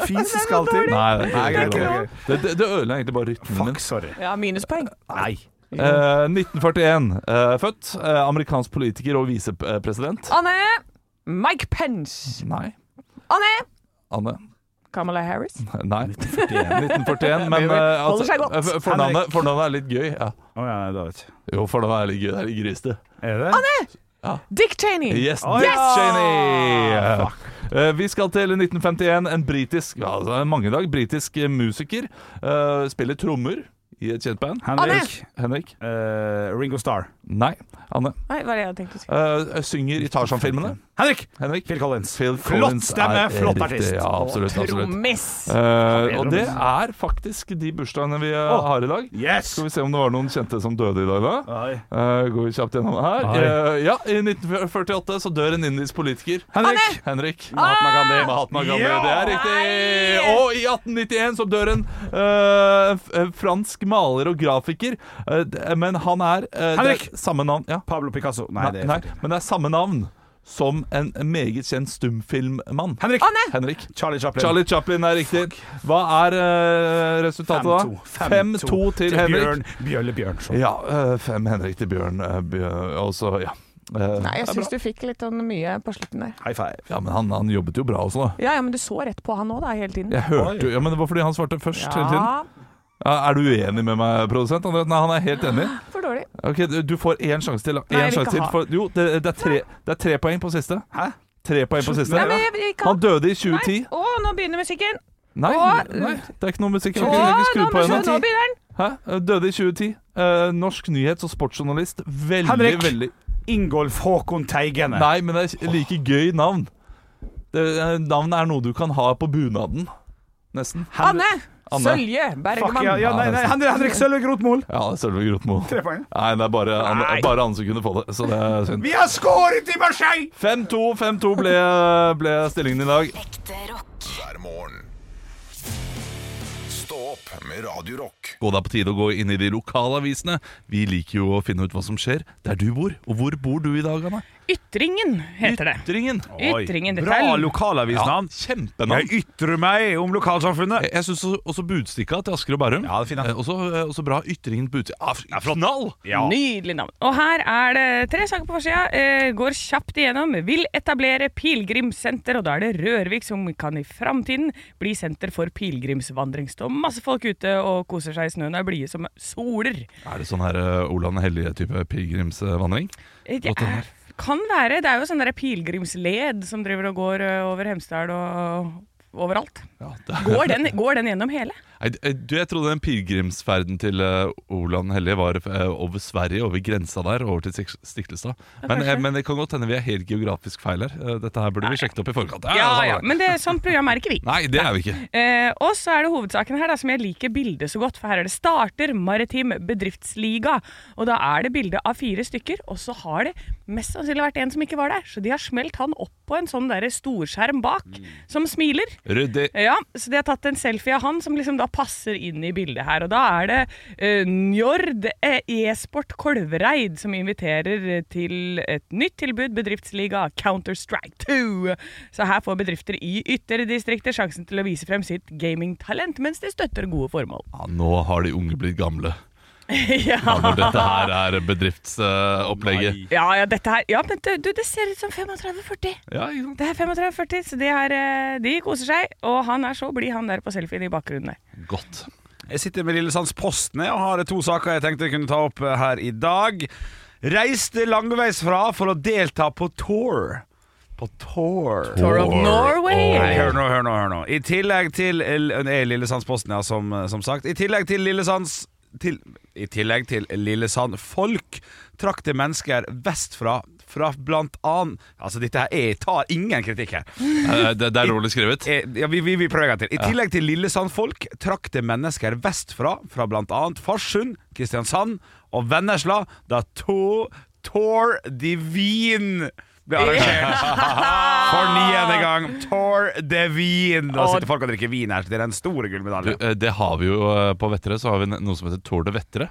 Speaker 2: Fis skal til.
Speaker 3: Nei, det,
Speaker 2: Nei,
Speaker 3: det,
Speaker 2: greit, greit,
Speaker 3: det, det, det ødela egentlig bare rytmen min.
Speaker 2: Fuck, sorry.
Speaker 9: Ja, minuspoeng.
Speaker 2: Nei.
Speaker 3: Eh, 1941. eh, født. eh, amerikansk politiker og visepresident.
Speaker 9: Anne. Mike Pence.
Speaker 3: Nei.
Speaker 9: Anne.
Speaker 3: Anne.
Speaker 9: Kamala Harris.
Speaker 3: Nei. 1941. Men eh,
Speaker 9: Holder seg
Speaker 3: altså,
Speaker 9: godt.
Speaker 3: eh, fornavnet, fornavnet er litt gøy. Ja.
Speaker 2: Å ja, nei, da vet jeg.
Speaker 3: Jo, for det var litt gøy. Det er litt grisete.
Speaker 2: Er det?
Speaker 9: Dick Cheney.
Speaker 3: Yes,
Speaker 2: Oi!
Speaker 3: Dick Cheney!
Speaker 2: Ja,
Speaker 3: Eh, vi skal til 1951. En britisk ja, altså, en mange dag, britisk eh, musiker. eh, spiller trommer i et kjent band.
Speaker 2: Henrik.
Speaker 3: Henrik?
Speaker 2: Eh, Ringo Starr.
Speaker 3: Nei. Anne.
Speaker 9: Nei, hva er det jeg tenkte å si?
Speaker 3: Eh, synger i Tarzan-filmene.
Speaker 2: Henrik!
Speaker 3: Henrik?
Speaker 2: Phil Collins.
Speaker 3: Phil
Speaker 2: Flott stemme,
Speaker 3: er, eh,
Speaker 2: flott
Speaker 3: riktig.
Speaker 2: artist.
Speaker 3: Ja, absolutt. absolutt.
Speaker 9: Trommis.
Speaker 3: Eh, og det er faktisk de bursdagene vi eh, har i dag.
Speaker 2: Yes!
Speaker 3: Skal vi se om det var noen kjente som døde i dag, da?
Speaker 2: Oi.
Speaker 3: Eh, går vi kjapt gjennom her.
Speaker 2: Oi.
Speaker 3: Eh, ja, I 1948 så dør en indisk politiker.
Speaker 2: Henrik!
Speaker 3: Henrik.
Speaker 2: Mahatma Gandhi.
Speaker 3: Mahatma Gandhi,
Speaker 2: Ja!
Speaker 3: det er riktig! Og i 1891 så dør en eh, f- eh, fransk maler og grafiker, eh, d- men han er eh, det er
Speaker 2: Henrik!
Speaker 3: Samme navn. Ja.
Speaker 2: Pablo Picasso. Nei,
Speaker 3: Nei,
Speaker 2: det er
Speaker 3: nei, men det er samme navn som en meget kjent stumfilmmann.
Speaker 10: Henrik!
Speaker 3: Henrik.
Speaker 10: Charlie Chaplin.
Speaker 3: Charlie Chaplin er riktig. Hva er eh, resultatet da? 5-2 til, Henrik.
Speaker 10: Bjørn Bjølle Bjørnson.
Speaker 3: Ja, eh, fem Henrik til Bjørn. eh, Bjørn og så, ja. Eh,
Speaker 9: Nei, jeg
Speaker 3: det er
Speaker 9: syns
Speaker 3: bra.
Speaker 9: du fikk litt sånn mye på slutten der.
Speaker 10: High five.
Speaker 3: Ja, men han, han jobbet jo bra også, da.
Speaker 9: Ja, ja, men du så rett på han òg, da, hele tiden.
Speaker 3: Jeg hørte jo, ja, men Det var fordi han svarte først hele tiden.
Speaker 9: Ja,
Speaker 3: Ja, Er du uenig med meg, produsent? André? Nei, han er helt enig.
Speaker 9: for dårlig.
Speaker 3: Ok, Du, du får én sjanse til. da.
Speaker 9: Nei,
Speaker 3: Én
Speaker 9: jeg vil
Speaker 3: sjanse
Speaker 9: ikke
Speaker 3: til
Speaker 9: ha.
Speaker 3: for, jo, det, det, er tre, det er tre poeng på siste.
Speaker 10: Hæ?
Speaker 3: Tre poeng på siste.
Speaker 9: Nei, men jeg, jeg
Speaker 3: Han
Speaker 9: kan
Speaker 3: døde i 2010.
Speaker 9: Å, nå begynner musikken!
Speaker 3: Nei,
Speaker 9: Åh,
Speaker 3: nei, det er ikke noe musikk. Jeg
Speaker 9: Å, nå,
Speaker 3: kan ikke skru på
Speaker 9: nå, nå
Speaker 3: henne.
Speaker 9: begynner den!
Speaker 3: Hæ? Døde i 2010. Eh, norsk nyhets- og sportsjournalist. Veldig,
Speaker 10: Henrik.
Speaker 3: veldig
Speaker 10: Ingolf Håkon Teigene.
Speaker 3: Nei, men det er like gøy navn. Det, eh, navnet er noe du kan ha på bunaden. Nesten.
Speaker 9: Anne!
Speaker 3: Anne.
Speaker 9: Sølje
Speaker 10: Fuck,
Speaker 9: Bergman.
Speaker 10: ja, ja, nei, nei, Henrik, Henrik Sølve Grotmol.
Speaker 3: Ja, det er Sølve Grotmo.
Speaker 10: Tre poeng.
Speaker 3: Nei, det er bare, Anne- bare Anne som kunne få det. Så det er synd.
Speaker 10: Vi har skåret i Marseille!
Speaker 3: 5-2 5-2 ble, ble stillingen i dag.
Speaker 11: Ekte rock.
Speaker 1: hver morgen. Stå opp med Radio Rock.
Speaker 3: Og det er på tide å gå inn i de lokale avisene. Vi liker jo å finne ut hva som skjer der du bor. Og hvor bor du i dag, Anne?
Speaker 4: Ytringen heter det.
Speaker 3: Ytringen.
Speaker 2: Oi,
Speaker 4: Ytringen, dette
Speaker 2: Bra
Speaker 4: er-
Speaker 2: lokalavisnavn.
Speaker 3: Kjempenavn.
Speaker 2: Jeg ytrer meg om lokalsamfunnet.
Speaker 3: Jeg syns også- også Budstikka til Asker og Bærum.
Speaker 2: Ja, det er fint, da.
Speaker 3: Eh, også, eh, også bra Ytringen Budstikka. Ah, f- knall!
Speaker 2: Ja.
Speaker 4: Nydelig navn. Og her er det tre saker på forsida. Eh, går kjapt igjennom. Vil etablere pilegrimssenter, og da er det Rørvik som kan i framtiden bli senter for pilegrimsvandring. Står masse folk ute og koser seg i snøen og er blide som soler.
Speaker 3: Er det sånn her eh, Olav den hellige-type pilegrimsvandring?
Speaker 4: Eh, Det
Speaker 3: Godt å høre.
Speaker 4: er, kan være. Det er jo sånn derre pilegrimsled som driver og går eh, over Hemsedal og overalt.
Speaker 3: Ja, det-
Speaker 4: Går den, går den gjennom hele?
Speaker 3: Nei, d- eh, du, jeg trodde den pilegrimsferden til eh, Olav den hellige var eh, over Sverige, over grensa der, over til Sik- Stiklestad. Men, eh, men det kan godt hende vi er helt geografisk feil her. Eh, Dette her burde vi sjekket opp i forkant. Ja,
Speaker 4: Ja,
Speaker 3: sånn
Speaker 4: ja.
Speaker 3: var det.
Speaker 4: Men det, sånt program er ikke vi.
Speaker 3: Nei, det er vi ikke.
Speaker 4: Eh, og så er det hovedsaken her da, som jeg liker bildet så godt, for her er det starter maritim bedriftsliga. Og da er det bilde av fire stykker, og så har det mest sannsynlig vært en som ikke var der. Så de har smelt han opp på en sånn der storskjerm bak, som smiler.
Speaker 3: Ryddig.
Speaker 4: Ja, så de har tatt en selfie av han som liksom da passer inn i bildet her. Og da er det eh, Njord eh, e-sport Kolvereid som inviterer eh, til et nytt tilbud, bedriftsliga Counter-Strike 2. Så her får bedrifter i ytterdistrikter sjansen til å vise frem sitt gamingtalent mens de støtter gode formål.
Speaker 3: Ja, nå har de unge blitt gamle. Ja,
Speaker 4: ja.
Speaker 3: når dette her er bedriftsopplegget.
Speaker 4: Ja, ja, dette her Ja, men det, du, det ser ut som 35-40.
Speaker 3: ja, ikke sant?
Speaker 4: Det er 35-40, så de, er, eh, de koser seg. Og han er så blid, han der på selfien i bakgrunnen der.
Speaker 3: Godt.
Speaker 2: Jeg sitter med Lillesands Postene og har to saker jeg tenkte jeg kunne ta opp eh, her i dag. Reiste langveisfra for å delta på tour. På tour.
Speaker 4: Tour of Norway.
Speaker 2: Nei, hør nå, hør nå, hør nå. I tillegg til L- Nei, Lillesandsposten, ja, som, eh, som sagt. I tillegg til Lillesands til, I tillegg til Lillesand folk trakk det mennesker vestfra fra blant annet Altså, dette her er, tar ingen kritikk her.
Speaker 3: Eh, Det, det er dårlig skrevet.
Speaker 2: Eh, Ja, vi, vi, vi prøver en gang til. I tillegg til Lillesandfolk trakk det mennesker vestfra, fra bl.a. Farsund, Kristiansand og Vennesla, da to, Tour de Wien ble arrangert. For niende gang. Tour de Wien. Da sitter folk og drikker vin her, så det er en stor
Speaker 3: Du,
Speaker 2: gullmedalje.
Speaker 3: eh, det har vi jo eh, på Vettere, så har vi noe som heter Tour de Vettere.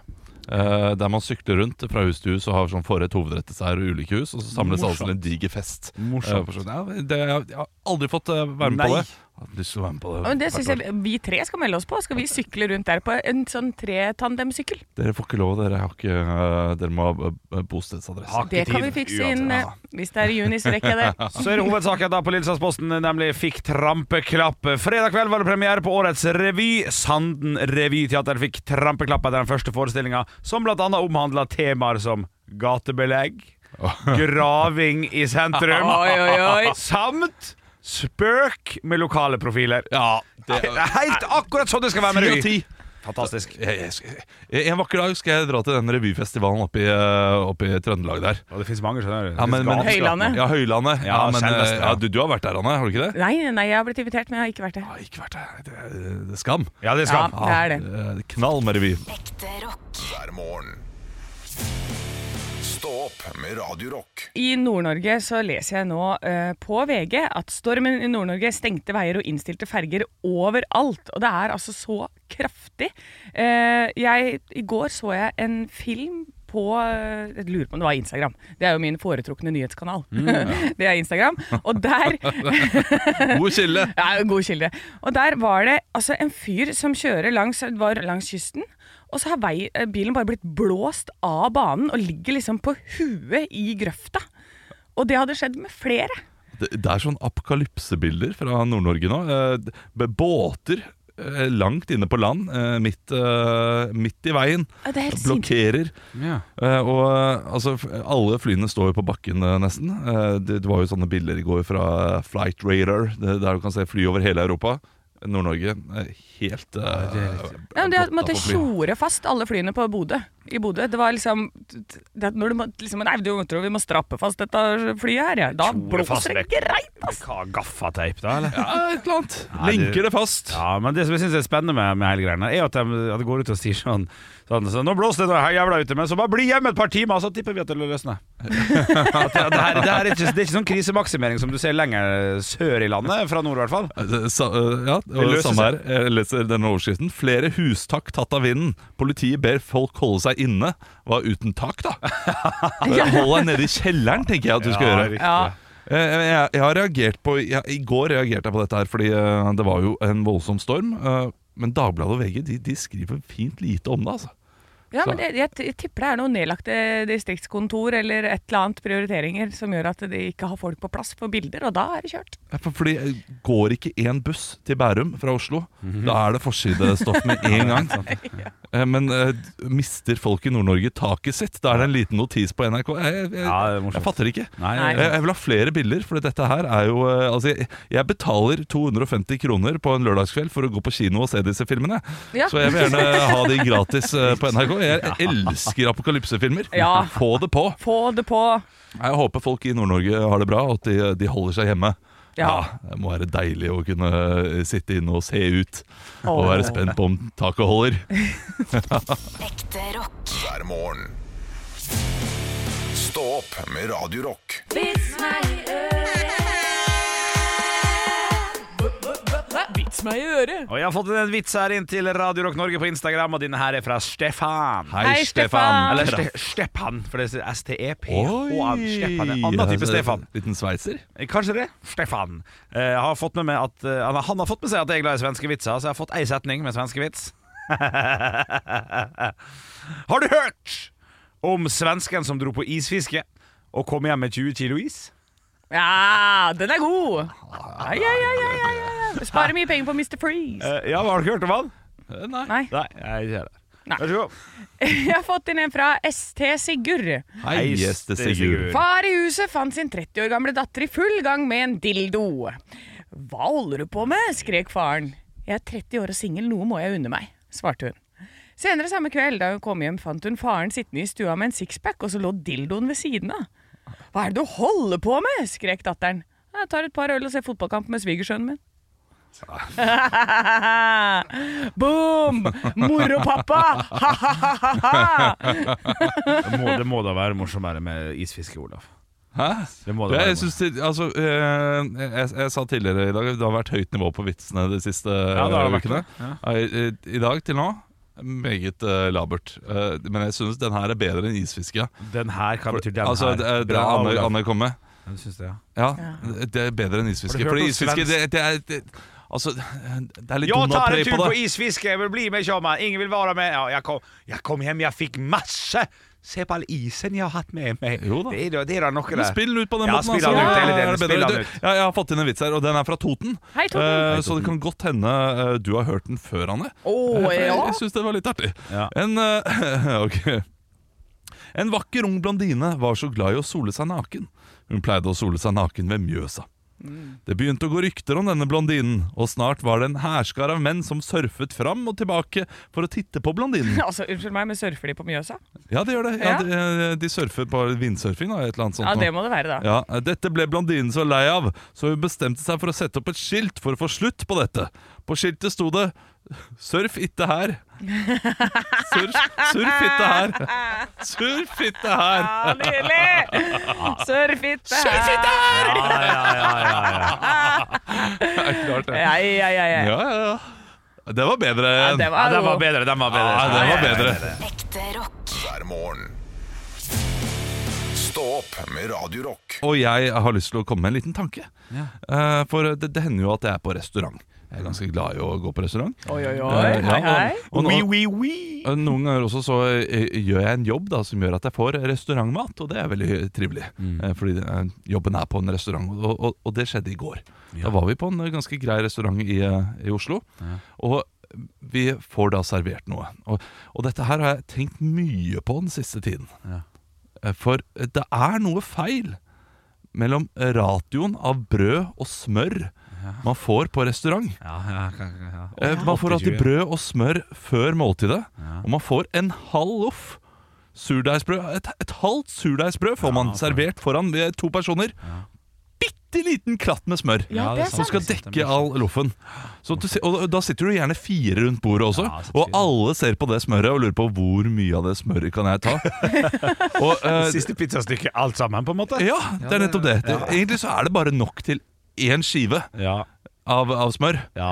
Speaker 3: Eh, Der man sykler rundt fra hus til hus og har sånn forrett hovedrette seg og ulike hus. Og så samles alle til en diger fest.
Speaker 2: Morsomt.
Speaker 3: Eh, for sånn, Ja, det, jeg har aldri fått eh, være med
Speaker 2: Nei.
Speaker 3: på det. Jeg har lyst til å være med på det.
Speaker 4: Ja, Men det
Speaker 3: hvert
Speaker 4: synes
Speaker 3: år.
Speaker 4: jeg vi tre skal melde oss på. Skal vi sykle rundt der på en sånn tretandemsykkel?
Speaker 3: Dere får ikke lov, dere, har ikke, eh, dere må ha eh, bostedsadresse.
Speaker 2: Har ikke
Speaker 4: Det kan vi
Speaker 2: tid
Speaker 4: fikse
Speaker 2: uansett. Ah.
Speaker 4: inn. eh, Hvis det er i juni, så rekker jeg det.
Speaker 2: Så er det hovedsaken da på Lillesandsposten, nemlig fikk trampeklapp. Fredag kveld var det premiere på årets revy. Sanden revyteater fikk trampeklapp etter den første forestillinga, som bl.a. omhandla temaer som gatebelegg, graving i sentrum,
Speaker 4: Oi, oi, oi.
Speaker 2: samt spøk med lokale profiler.
Speaker 3: Ja, det,
Speaker 2: Det er helt akkurat sånn det skal være med
Speaker 3: Ti av
Speaker 2: revy!
Speaker 3: ti.
Speaker 2: Fantastisk.
Speaker 3: jeg, jeg skal, en vakker dag skal jeg dra til den revyfestivalen oppe i, eh, oppe i Trøndelag der.
Speaker 2: Og det fins mange, skjønner du.
Speaker 3: Ja, men- men-
Speaker 4: Høylandet.
Speaker 3: Ja, Høylandet. Ja,
Speaker 2: Ja,
Speaker 3: men, eh,
Speaker 2: selveste, ja.
Speaker 3: ja, du, du har vært der, Anne, har du ikke det?
Speaker 4: Nei, nei, jeg har blitt invitert, men jeg har ikke vært det.
Speaker 3: Jeg har ikke vært der. Det er, det er skam.
Speaker 2: Ja, det
Speaker 4: Ja,
Speaker 2: skal
Speaker 4: det er det.
Speaker 3: Ja, det er Knall med revy.
Speaker 11: Ekte rock.
Speaker 1: hver morgen. Stå opp med Radio Rock.
Speaker 4: I Nord-Norge så leser jeg nå eh, på VG at stormen i Nord-Norge stengte veier og innstilte ferger overalt. Og det er altså så kraftig. Eh, jeg, I går så jeg en film på eh, Jeg lurer på om det var Instagram. Det er jo min foretrukne nyhetskanal.
Speaker 2: Mm,
Speaker 4: det er Instagram. Og der
Speaker 3: God kilde!
Speaker 4: ja, God kilde. Og der var det altså, en fyr som kjører langs, var langs kysten. Og så har vei, eh, bilen bare blitt blåst av banen og ligger liksom på huet i grøfta. Og det hadde skjedd med flere.
Speaker 3: Det, det er sånn apokalypsebilder fra Nord-Norge nå. Eh, d- b- båter eh, langt inne på land, eh, midt, eh, midt i veien,
Speaker 4: Ja, Det er helt sinnssykt.
Speaker 3: blokkerer.
Speaker 2: Ja.
Speaker 3: Eh, og eh, altså, f- alle flyene står jo på bakken eh, nesten. Eh, det, det var jo sånne bilder i går fra eh, Flight Radar, det, der du kan se fly over hele Europa. Nord-Norge eh, helt eh,
Speaker 4: Ja, men de
Speaker 3: blotta
Speaker 4: måtte
Speaker 3: for fly.
Speaker 4: tjore fast alle flyene på Bodø. I Bodø. Det var liksom det, Når du må, liksom Nei, du tror vi må strappe fast dette flyet her, ja. Da blåser det greit, altså. ass!
Speaker 2: Hva, gaffateip, da? eller?
Speaker 3: Ja, et eller annet.
Speaker 2: Nei, det-
Speaker 3: Linker det fast.
Speaker 2: Ja, men det som jeg synes er spennende med, med hele greiene, er jo at de, at de går ut og sier sånn, sånn, sånn Nå blåser det noe her jævla ute, men så bare bli hjemme et par timer, så tipper vi at det løsner. at det, det, her, det, her er ikke, det er ikke sånn krisemaksimering som du ser lenger sør i landet, fra nord i hvert fall.
Speaker 3: Eh, det- Sa, eh, ja,
Speaker 2: Det
Speaker 3: og
Speaker 2: løser
Speaker 3: samme her. Jeg leser denne overskriften. Flere hustak tatt av vinden. Politiet ber folk holde seg inne. Hva uten tak, da? Eh, Hold deg nede i kjelleren, tenker jeg at du skal gjøre.
Speaker 2: riktig.
Speaker 4: Ja.
Speaker 3: Eh, Jeg, jeg har reagert på jeg, I går reagerte jeg på dette her, fordi eh, det var jo en voldsom storm. eh, Men Dagbladet og VG de, de skriver fint lite om det, altså.
Speaker 4: Ja, men jeg, jeg, jeg tipper det er noen nedlagte distriktskontor eller et eller annet prioriteringer som gjør at de ikke har folk på plass på bilder, og da er det kjørt.
Speaker 3: Ja, for- Fordi eh, går ikke én buss til Bærum fra Oslo,
Speaker 2: Mhm.
Speaker 3: da er det forsidestoff med en gang. Eh, Men eh, mister folk i Nord-Norge taket sitt? Da er det en liten notis på NRK. Jeg, jeg,
Speaker 2: Ja, det er
Speaker 3: jeg,
Speaker 2: morsomt.
Speaker 3: jeg fatter ikke.
Speaker 2: Nei,
Speaker 4: Nei.
Speaker 3: Jeg, jeg vil ha flere bilder, for dette her er jo eh, Altså, jeg, jeg betaler 250 kroner på en lørdagskveld for å gå på kino og se disse filmene.
Speaker 4: Ja.
Speaker 3: Så jeg vil gjerne ha de gratis eh, på NRK. Jeg elsker apokalypsefilmer.
Speaker 4: Ja.
Speaker 3: Få det på.
Speaker 4: Få det på!
Speaker 3: Jeg håper folk i Nord-Norge har det bra, og at de, de holder seg hjemme. Ja.
Speaker 4: Ja.
Speaker 3: Det må være deilig å kunne eh, sitte inne og se ut, og
Speaker 4: Åh.
Speaker 3: være spent på om taket holder.
Speaker 11: Ekte rock.
Speaker 1: hver morgen. Stå opp med Radio Rock.
Speaker 4: Vits meg i øret!
Speaker 2: Og jeg har fått en vits her inn til Radio Rock Norge på Instagram, og denne her er fra Stefan.
Speaker 4: Hei, Stefan.
Speaker 2: Eller Ste Stepan, for det er E S-T-E-P. Og
Speaker 3: Oi!
Speaker 2: Stepan, en annen type
Speaker 3: Altså,
Speaker 2: Stefan.
Speaker 3: Liten sveitser?
Speaker 2: Eh, Kanskje det. Stefan. Eh, har fått med meg at, eh, han har- han har fått med seg at jeg er glad i svenske vitser, så jeg har fått ei setning med svenske vits. har du hørt om svensken som dro på isfiske og kom hjem med 20 kilo is?
Speaker 4: Ja, den er god! Ja, ja, ja, ja, ja, ja. Sparer mye penger på Mr. Freeze.
Speaker 2: Eh, ja, har du hørt om han?
Speaker 3: Eh, Nei.
Speaker 4: Nei.
Speaker 2: Nei, jeg ikke det.
Speaker 4: Nei.
Speaker 2: Vær så god.
Speaker 4: Jeg har fått inn en fra ST Sigurd.
Speaker 3: Hei, gjeste Sigurd.
Speaker 4: Far i huset fant sin 30 år gamle datter i full gang med en dildo. Hva holder du på med? skrek faren. Jeg er 30 år og singel, noe må jeg unne meg, svarte hun. Senere samme kveld da hun kom hjem, fant hun faren sittende i stua med en sixpack, og så lå dildoen ved siden av. Hva er det du holder på med? skrek datteren. Jeg tar et par øl og ser fotballkamp med svigersønnen min. Boom! Moropappa! Ha-ha-ha-ha!
Speaker 2: Det må, det må da være morsommere med isfiske, Olav.
Speaker 3: Hæ?
Speaker 2: Det må det
Speaker 3: Ja,
Speaker 2: være.
Speaker 3: jeg, synes det, altså, eh, jeg, jeg sa tidligere i dag Det har vært høyt nivå på vitsene de siste
Speaker 2: det har
Speaker 3: eh,
Speaker 2: det vært
Speaker 3: ukene. I, i- I dag til nå meget eh, labert. Eh, men jeg syns den her er bedre enn isfiske.
Speaker 2: Den her, hva betyr den
Speaker 3: altså,
Speaker 2: her?
Speaker 3: det, er- det er
Speaker 2: Bra,
Speaker 3: Anne,
Speaker 2: Olav.
Speaker 3: Anne kom med.
Speaker 2: Jeg synes det, ja.
Speaker 3: Ja, det er bedre enn isfiske.
Speaker 2: Har du hørt
Speaker 3: Fordi
Speaker 2: om
Speaker 3: isfiske,
Speaker 2: svensk-
Speaker 3: det, det er det, Altså, det er litt
Speaker 2: Jag tar en
Speaker 3: Donald-play
Speaker 2: tur
Speaker 3: på
Speaker 2: på
Speaker 3: det.
Speaker 2: isfiske, jeg vil bli med i sommar. Ingen vil være med. Ja, jeg, kom, jeg kom hjem, jeg fikk masse. Se på all isen jeg har hatt med meg.
Speaker 3: Jo da.
Speaker 2: Det er da, det er da noe
Speaker 3: Men
Speaker 2: der.
Speaker 3: Spill den ut på den
Speaker 2: Ja,
Speaker 3: måten. altså.
Speaker 2: spill den ut,
Speaker 3: Ja,
Speaker 2: eller den,
Speaker 3: er det bedre?
Speaker 2: spill den
Speaker 3: Du-
Speaker 2: ut.
Speaker 3: Ja, jeg har fått inn en vits her, og den er fra Toten.
Speaker 4: Hei, Toten.
Speaker 3: Eh, så det kan godt hende eh, du har hørt den før, Anne.
Speaker 4: Åh,
Speaker 3: Eh, for jeg
Speaker 4: ja.
Speaker 3: jeg syns det var litt artig.
Speaker 2: Ja.
Speaker 3: En, eh, ok. en vakker ung blondine var så glad i å sole seg naken. Hun pleide å sole seg naken ved Mjøsa.
Speaker 4: Mm.
Speaker 3: Det begynte å gå rykter om denne blondinen, og snart var det en hærskare av menn som surfet fram og tilbake for å titte på blondinen.
Speaker 4: Altså, unnskyld meg, men surfer de på Mjøsa?
Speaker 3: Ja, det gjør det. Ja,
Speaker 4: Ja.
Speaker 3: de, de surfer på vindsurfing og et eller annet sånt.
Speaker 4: Ja, det
Speaker 3: nå.
Speaker 4: må det være, da.
Speaker 3: Ja, Dette ble blondinen så lei av, så hun bestemte seg for å sette opp et skilt for å få slutt på dette. På skiltet sto det 'Surf itte her'. Surf, surf itte her. Surf itte her.
Speaker 4: Ja, nydelig! Surfitte! Surfitte!
Speaker 2: Ja, ja, ja, ja, ja.
Speaker 3: Det er klart, det.
Speaker 4: Ja, ja, ja, ja.
Speaker 3: Ja, ja, ja. Det var bedre.
Speaker 4: Ja, det
Speaker 3: enn-
Speaker 2: ja
Speaker 4: var
Speaker 2: den
Speaker 4: jo
Speaker 2: var bedre, den var bedre.
Speaker 3: Ja, det var bedre.
Speaker 11: Ekte rock.
Speaker 1: hver morgen. med Radio Rock.
Speaker 3: Og jeg har lyst til å komme med en liten tanke. Eh, for det, det hender jo at jeg er på restaurant. Jeg er ganske glad i å gå på restaurant.
Speaker 4: Oi, oi, oi.
Speaker 3: Eh, ja,
Speaker 4: Hei, hei.
Speaker 3: og- og- Eh, Noen ganger også så eh, gjør jeg en jobb da, som gjør at jeg får restaurantmat, og det er veldig trivelig.
Speaker 2: Mm.
Speaker 3: Eh, Fordi eh, jobben er på en restaurant, og, og, og det skjedde i går. Da var vi på en eh, ganske grei restaurant i, eh, i Oslo, og vi får da servert noe. Og, og dette her har jeg tenkt mye på den siste tiden. Eh, For det er noe feil mellom ratioen av brød og smør man får på restaurant.
Speaker 2: Ja, ja, ja, ja.
Speaker 3: Eh, Man får alltid brød og smør før måltidet, og man får en halv loff. Surdeigsbrød. Et, et halvt surdeigsbrød får man servert foran eh, to personer. Bitte liten klatt med smør.
Speaker 2: Ja, det er
Speaker 3: som
Speaker 2: sant.
Speaker 3: skal dekke all loffen. Så du, si- og da sitter du gjerne fire rundt bordet også,
Speaker 2: Ja, så
Speaker 3: og
Speaker 2: fint.
Speaker 3: alle ser på det smøret og lurer på hvor mye av det smøret kan jeg ta. og, eh,
Speaker 2: Siste pizzastykket, alt sammen, på en måte?
Speaker 3: ja, det er nettopp det. det. Egentlig så er det bare nok til én skive
Speaker 2: Ja.
Speaker 3: av, av smør.
Speaker 2: ja.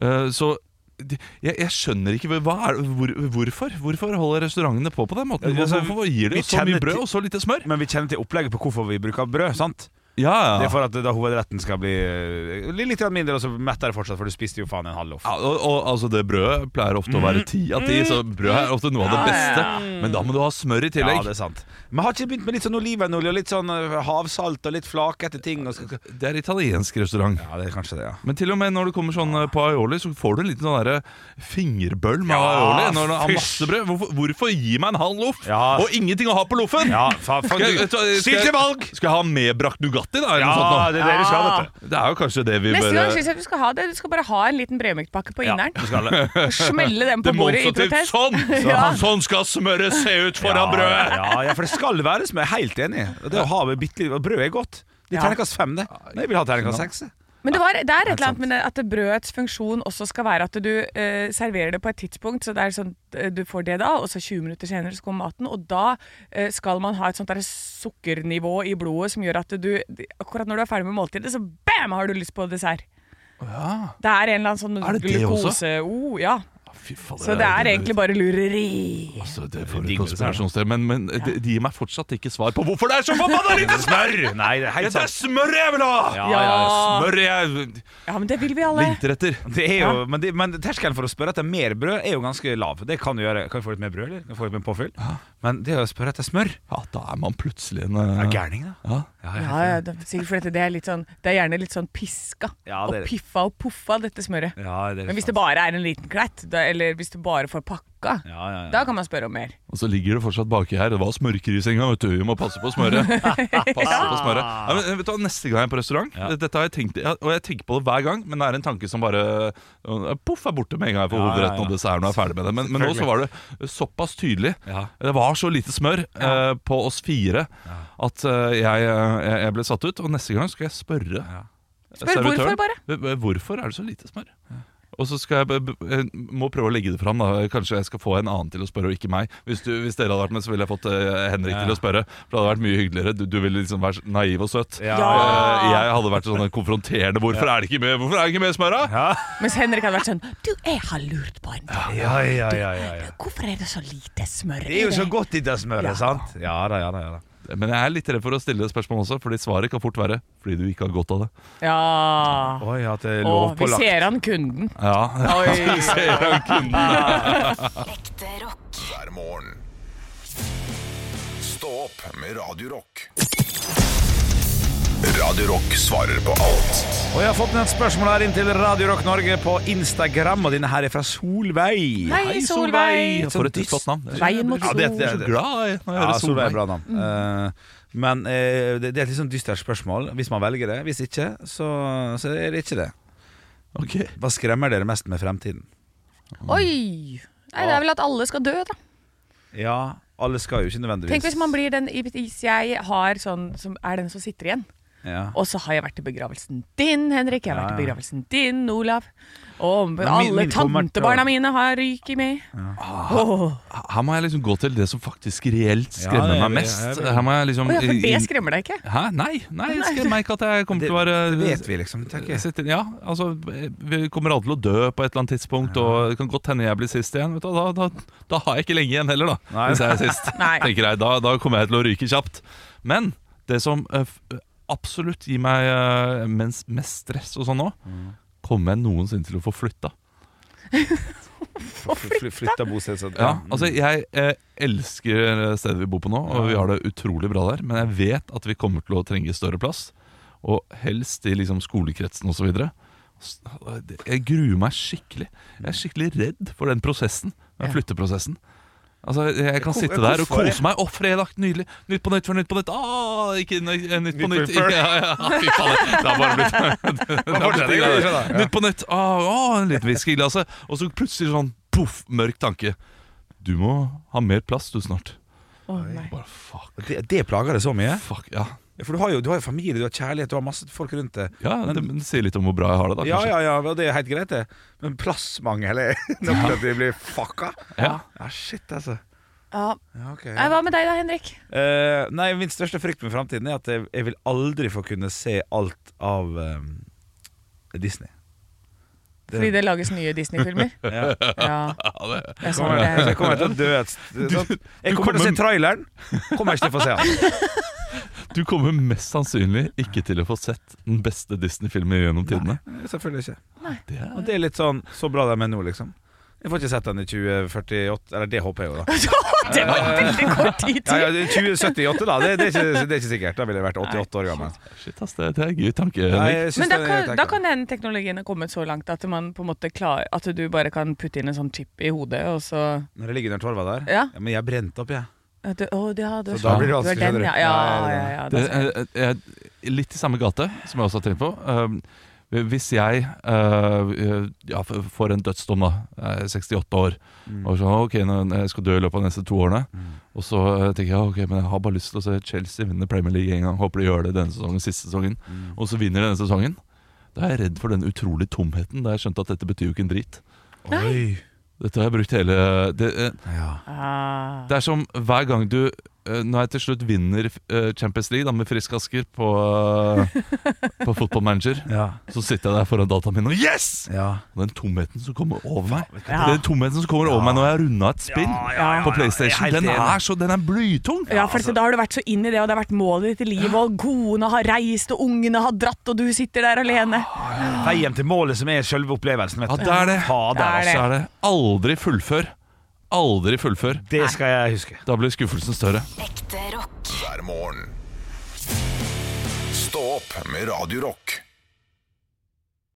Speaker 3: Eh, Så de- jeg, jeg skjønner ikke hva er, hvor, hvorfor Hvorfor holder restaurantene på på den måten?
Speaker 2: Ja, altså,
Speaker 3: hvorfor gir de
Speaker 2: vi
Speaker 3: oss så mye
Speaker 2: kjenner til-
Speaker 3: brød og så lite smør?
Speaker 2: Men vi kjenner til opplegget på hvorfor vi bruker brød. sant?
Speaker 3: Ja,
Speaker 2: Det
Speaker 3: ja.
Speaker 2: er for at da hovedretten skal bli eh, litt litt grann mindre, og så metter det fortsatt, for du spiste jo faen en halv loff.
Speaker 3: ja og, og altså Det brødet pleier ofte å
Speaker 2: Mm.
Speaker 3: være ti av ti, så brød er ofte noe av det beste. Men da må du ha smør i
Speaker 2: Ja,
Speaker 3: tillegg.
Speaker 2: det er sant. Men har ikke begynt med litt sånn olivenolje og litt sånn eh, havsalt og litt flakete ting? Og skal...
Speaker 3: det, er italiensk restaurant.
Speaker 2: Ja, det er kanskje det, ja.
Speaker 3: Men til og med når det kommer sånn eh, på aioli, så får du en liten sånn derre fingerbøll med
Speaker 2: Ja,
Speaker 3: aioli. Når du har
Speaker 2: fysj.
Speaker 3: masse brød hvorfor, hvorfor gi meg en halv loff
Speaker 2: Ja.
Speaker 3: og ingenting å ha på loffen?
Speaker 2: Ja, faen,
Speaker 3: Skal jeg, skal, jeg-
Speaker 2: Still til valg!
Speaker 3: skal jeg ha medbrakt Nugatti, da? Eller
Speaker 2: Ja,
Speaker 3: noe sånt nå?
Speaker 2: det er det du skal, vet du.
Speaker 3: Det er jo kanskje det vi
Speaker 4: Neste
Speaker 3: bør
Speaker 4: gang syns jeg du skal ha det. Du skal bare ha en liten brødmøktpakke på inneren.
Speaker 2: Du skal det.
Speaker 4: Smelle den på bordet i
Speaker 3: Demonstrativt
Speaker 4: protest.
Speaker 3: sånn!
Speaker 4: Ja.
Speaker 3: Sånn skal smøret se ut
Speaker 2: Ja,
Speaker 3: foran brødet!
Speaker 2: Ja, ja, for det skal være som jeg er helt enig i. Og Det å ha med bitte litt og Brød er godt. Det er
Speaker 4: Ja.
Speaker 2: terningkast fem, det. Men jeg vil ha terningkast seks. jeg.
Speaker 4: Men det, var, det er et eller annet med det at brødets funksjon også skal være at du eh, serverer det på et tidspunkt, så det er sånn eh, du får det da, og så 20 minutter senere så kommer maten, og da eh, skal man ha et sånt der sukkernivå i blodet som gjør at du akkurat når du er ferdig med måltidet, så bam, har du lyst på dessert. Det er en eller annen sånn
Speaker 3: Er det det også?
Speaker 4: glukose... Oh, ja.
Speaker 3: Fy fader,
Speaker 4: Så det er egentlig bare lureri.
Speaker 3: altså, det er for et
Speaker 2: Digg,
Speaker 3: konspirasjonsteori, Men, men det, de gir meg fortsatt ikke svar på hvorfor det er så forbanna lite smør!
Speaker 2: Nei, det er
Speaker 3: Det
Speaker 2: helt
Speaker 3: er
Speaker 2: sant.
Speaker 3: smør jeg vil ha!
Speaker 2: Ja,
Speaker 4: Ja.
Speaker 2: ja, ja.
Speaker 3: Smør jeg
Speaker 4: Ja, men det vil vi alle.
Speaker 3: lengter etter.
Speaker 2: Det er jo, men, det, men terskelen for å spørre etter mer brød er jo ganske lav. Det kan du gjøre. Kan vi få litt mer brød, eller? Kan vi få litt mer påfyll? Men det å spørre etter smør
Speaker 3: Ja, da er man plutselig en
Speaker 2: er
Speaker 3: eh,
Speaker 2: gærning, da.
Speaker 3: ja.
Speaker 2: Ja,
Speaker 4: Ja, ja, det, sikkert fordi det er, litt sånn, det er gjerne litt sånn piska
Speaker 2: Ja, det er
Speaker 4: og
Speaker 2: det.
Speaker 4: piffa og puffa, dette smøret.
Speaker 2: ja, det er
Speaker 4: Men hvis det
Speaker 2: sant.
Speaker 4: bare er en liten klett, da, eller hvis du bare får pakka,
Speaker 2: ja, ja, ja.
Speaker 4: da kan man spørre om mer.
Speaker 3: Og så ligger det fortsatt baki her. Det var smørkris en gang, vet du. Vi må passe på smøret. Passe på smøret. Ja, men, vet du, hva, neste gang jeg er på restaurant Dette har jeg tenkt ja, Og jeg tenker på det hver gang, men det er en tanke som bare øh, Poff er borte med en gang jeg får
Speaker 2: Ja, ja,
Speaker 3: hovedretten
Speaker 2: ja.
Speaker 3: og desserten og er ferdig med det. Men, men nå
Speaker 2: Selvfølgelig.
Speaker 3: så var det såpass tydelig.
Speaker 2: Ja.
Speaker 3: Det var så lite smør eh, på oss fire at eh, jeg, jeg, jeg ble satt ut. Og neste gang skal jeg spørre
Speaker 4: Spør hvorfor bare.
Speaker 3: bare. Hvorfor er det så lite smør? Og så skal jeg, b- b- jeg må prøve å legge det fram. da Kanskje jeg skal få en annen til å spørre, og ikke meg. Hvis, du, hvis dere hadde vært med, så ville jeg fått eh, Henrik til å spørre. For det hadde vært mye hyggeligere. Du, du ville liksom være naiv og søt.
Speaker 2: Ja.
Speaker 3: Eh, jeg hadde vært sånn konfronterende. Hvorfor er det ikke mer, hvorfor er det ikke mer smør, da?
Speaker 4: Mens Henrik hadde vært sånn Du, jeg har lurt på en ting.
Speaker 2: Ja, ja, ja, ja, ja.
Speaker 4: Hvorfor er det så lite smør?
Speaker 2: Det er jo så godt i det smøret, sant? Ja da, ja da. ja da
Speaker 3: Men jeg er litt redd for å stille det spørsmålet også, fordi svaret kan fort være fordi du ikke har godt av det.
Speaker 4: Ja.
Speaker 2: Oi, at det er
Speaker 4: Å, vi
Speaker 2: lovpålagt.
Speaker 4: ser han kunden.
Speaker 3: Ja,
Speaker 4: Oi.
Speaker 11: Ekte rock.
Speaker 1: hver morgen. Stå opp med Radio Rock. Radio Rock svarer på alt
Speaker 2: Og jeg har fått ned et spørsmål her inn til Radio Rock Norge på Instagram, og denne her er fra Solveig.
Speaker 4: Hei, Solveig.
Speaker 3: For
Speaker 2: sånn
Speaker 3: et flott navn.
Speaker 4: Veien mot
Speaker 2: Ja, det-
Speaker 4: sol.
Speaker 2: det-
Speaker 3: Jeg er så glad i når jeg
Speaker 2: Ja,
Speaker 3: hører
Speaker 2: Solveig
Speaker 3: Solveig.
Speaker 2: er bra navn. Eh, men eh, det, det er et litt sånn dystert spørsmål, hvis man velger det. Hvis ikke, så, så er det ikke det.
Speaker 3: Ok.
Speaker 2: Hva skremmer dere mest med fremtiden?
Speaker 4: Oi! Nei, det er vel at alle skal dø, da.
Speaker 2: Ja, alle skal jo ikke nødvendigvis
Speaker 4: Tenk hvis man blir den Hvis jeg har sånn som er den som sitter igjen.
Speaker 2: ja.
Speaker 4: Og så har jeg vært i begravelsen din, Henrik. Jeg har vært
Speaker 2: Ja,
Speaker 4: i
Speaker 2: ja.
Speaker 4: begravelsen din, Olav. Og
Speaker 2: min-
Speaker 4: alle
Speaker 2: min kommer til å-
Speaker 4: tantebarna mine har ryket med. Åh.
Speaker 3: Her må jeg liksom gå til det som faktisk reelt
Speaker 2: Ja,
Speaker 3: skremmer
Speaker 2: det er-
Speaker 3: meg mest.
Speaker 2: jeg er-
Speaker 3: Her må jeg liksom
Speaker 4: Å ja, for det
Speaker 3: inn-
Speaker 4: skremmer deg ikke?
Speaker 3: Hæ? Nei, nei, jeg skremmer meg ikke at jeg kommer
Speaker 2: Det,
Speaker 3: til å være
Speaker 2: det vet vi, liksom. tenker jeg.
Speaker 3: Sitter- Ja, altså Vi kommer alle til å dø på et eller annet tidspunkt, og det kan godt hende jeg blir sist igjen. Vet du, da, da, da har jeg ikke lenge igjen heller, da.
Speaker 2: Nei.
Speaker 3: Hvis jeg er sist.
Speaker 4: Nei.
Speaker 3: Tenker jeg, da, da kommer jeg til å ryke kjapt. Men Det som eh, f- absolutt gir meg eh, mens, mest stress og sånn nå,
Speaker 2: Mm.
Speaker 3: kommer jeg noensinne til å få flytta.
Speaker 2: Flytta bosted.
Speaker 3: Ja, altså Jeg eh, elsker stedet vi bor på nå, og vi har det utrolig bra der. Men jeg vet at vi kommer til å trenge større plass, og helst i liksom skolekretsen osv. Jeg gruer meg skikkelig. Jeg er skikkelig redd for den prosessen. Den flytteprosessen. Altså, Jeg kan sitte der og
Speaker 2: hvorfor det?
Speaker 3: kose meg. Å, fredag! Nydelig! Nytt på nytt for Nytt på Nytt! Ah, ikke Nytt, nytt på
Speaker 2: Nytt
Speaker 3: Nytt!
Speaker 2: før.
Speaker 3: Ja, ja, fy faen, det har bare blitt det har blitt
Speaker 2: fortsetter,
Speaker 3: greier.
Speaker 2: det skjønner jeg.
Speaker 3: Nytt på nytt! Ah, ah, en liten whisky i glasset. Og så plutselig sånn poff, mørk tanke. Du må ha mer plass du snart.
Speaker 4: Å, nei.
Speaker 3: Bare fuck,
Speaker 2: Det, det plager deg så mye?
Speaker 3: fuck, ja.
Speaker 2: For du har jo, du har jo familie, du har kjærlighet, du har masse folk rundt deg.
Speaker 3: ja det, men det sier litt om hvor bra jeg har det, da.
Speaker 2: Ja,
Speaker 3: kanskje.
Speaker 2: ja, ja, og det er helt greit, det. Men plassmangel er nok til at de blir fucka.
Speaker 3: Ja.
Speaker 2: ja shit, altså.
Speaker 4: Ja.
Speaker 2: Ja, ok.
Speaker 4: Nei, Hva med deg da, Henrik?
Speaker 2: Eh, nei, min største frykt med framtiden er at jeg, jeg vil aldri få kunne se alt av eh, Disney.
Speaker 4: Fordi det lages nye Disney-filmer?
Speaker 2: Ja.
Speaker 4: Ja, jeg så
Speaker 2: Så
Speaker 4: det.
Speaker 2: jeg kommer til å dø et st- sånn. Jeg kommer til å se traileren, kommer jeg ikke til å få se den.
Speaker 3: Du kommer mest sannsynlig ikke til å få sett den beste Disney-filmen gjennom tidene.
Speaker 2: Selvfølgelig ikke.
Speaker 3: Det er
Speaker 2: Og det er litt sånn så bra de er nå, liksom. Jeg får ikke sett den i 2048, eller det håper jeg jo, da.
Speaker 4: Det var veldig kort tid
Speaker 2: Ja, ja,
Speaker 4: til!
Speaker 2: 2078, da. Det, det, er ikke, det er ikke sikkert. Da ville jeg vært 88 år gammel.
Speaker 3: Shit, ass, det, det er en gøy tanke.
Speaker 2: Nei,
Speaker 3: Henrik.
Speaker 2: jeg synes
Speaker 4: Men da
Speaker 2: det er
Speaker 4: kan,
Speaker 2: helt
Speaker 4: da
Speaker 2: ekkelt.
Speaker 4: kan den teknologien ha kommet så langt at man på en måte klarer At du bare kan putte inn en sånn chip i hodet, og så
Speaker 2: Når jeg ligger under torva der
Speaker 4: Ja.
Speaker 2: Men jeg er brent opp, jeg.
Speaker 4: at du, Å, det hadde
Speaker 2: Så da blir det
Speaker 4: Du er
Speaker 2: vanskelig,
Speaker 4: den,
Speaker 2: skjønner du.
Speaker 4: ja. Ja,
Speaker 2: Nei,
Speaker 4: ja,
Speaker 2: det-
Speaker 4: ja,
Speaker 3: Det
Speaker 4: det er sant.
Speaker 3: er, er, er litt i samme gate, som jeg også har tenkt på. Um, hvis jeg eh, ja, f- får en dødsdom, da, jeg er 68 år,
Speaker 2: Mm.
Speaker 3: og så «Ah, ok, nå, jeg skal dø i løpet av de neste to årene, og så eh, tenker jeg ja, ok, men jeg har bare lyst til å se Chelsea vinne Premier League en gang, håper de gjør det denne sesongen, siste sesongen,
Speaker 2: Mm.
Speaker 3: og så vinner de denne sesongen. Da er jeg redd for den utrolig tomheten, da jeg skjønte at dette betyr jo ikke en drit.
Speaker 2: Oi.
Speaker 3: Dette har jeg brukt hele det, eh,
Speaker 2: Ja.
Speaker 4: Ah.
Speaker 3: det er som hver gang du eh, Når jeg til slutt vinner eh, Champions League da, med Frisk Asker på, eh, på Football Manager,
Speaker 2: Ja.
Speaker 3: så sitter jeg der foran dataen min og Yes!
Speaker 2: ja.
Speaker 3: Og den tomheten som kommer over meg
Speaker 4: Ja.
Speaker 3: Den tomheten som kommer over meg når jeg har runda et spill på
Speaker 2: Jeg
Speaker 3: PlayStation,
Speaker 2: er helt
Speaker 3: den
Speaker 2: enig.
Speaker 3: er, så, den er blytung!
Speaker 4: Ja, for
Speaker 2: altså-
Speaker 4: da har du vært så inn i det, og det har vært målet ditt i livet, og kona har reist, og ungene har dratt, og du sitter der alene.
Speaker 2: Veien til målet som er selve opplevelsen, vet
Speaker 3: Ja,
Speaker 2: du.
Speaker 3: det er det.
Speaker 2: Fader,
Speaker 4: Det er
Speaker 3: Så
Speaker 2: altså.
Speaker 3: er det aldri fullfør. Aldri fullfør.
Speaker 2: Det skal jeg huske.
Speaker 3: Da blir skuffelsen større.
Speaker 11: Ekte rock.
Speaker 1: hver morgen. Stå opp med Radio Rock.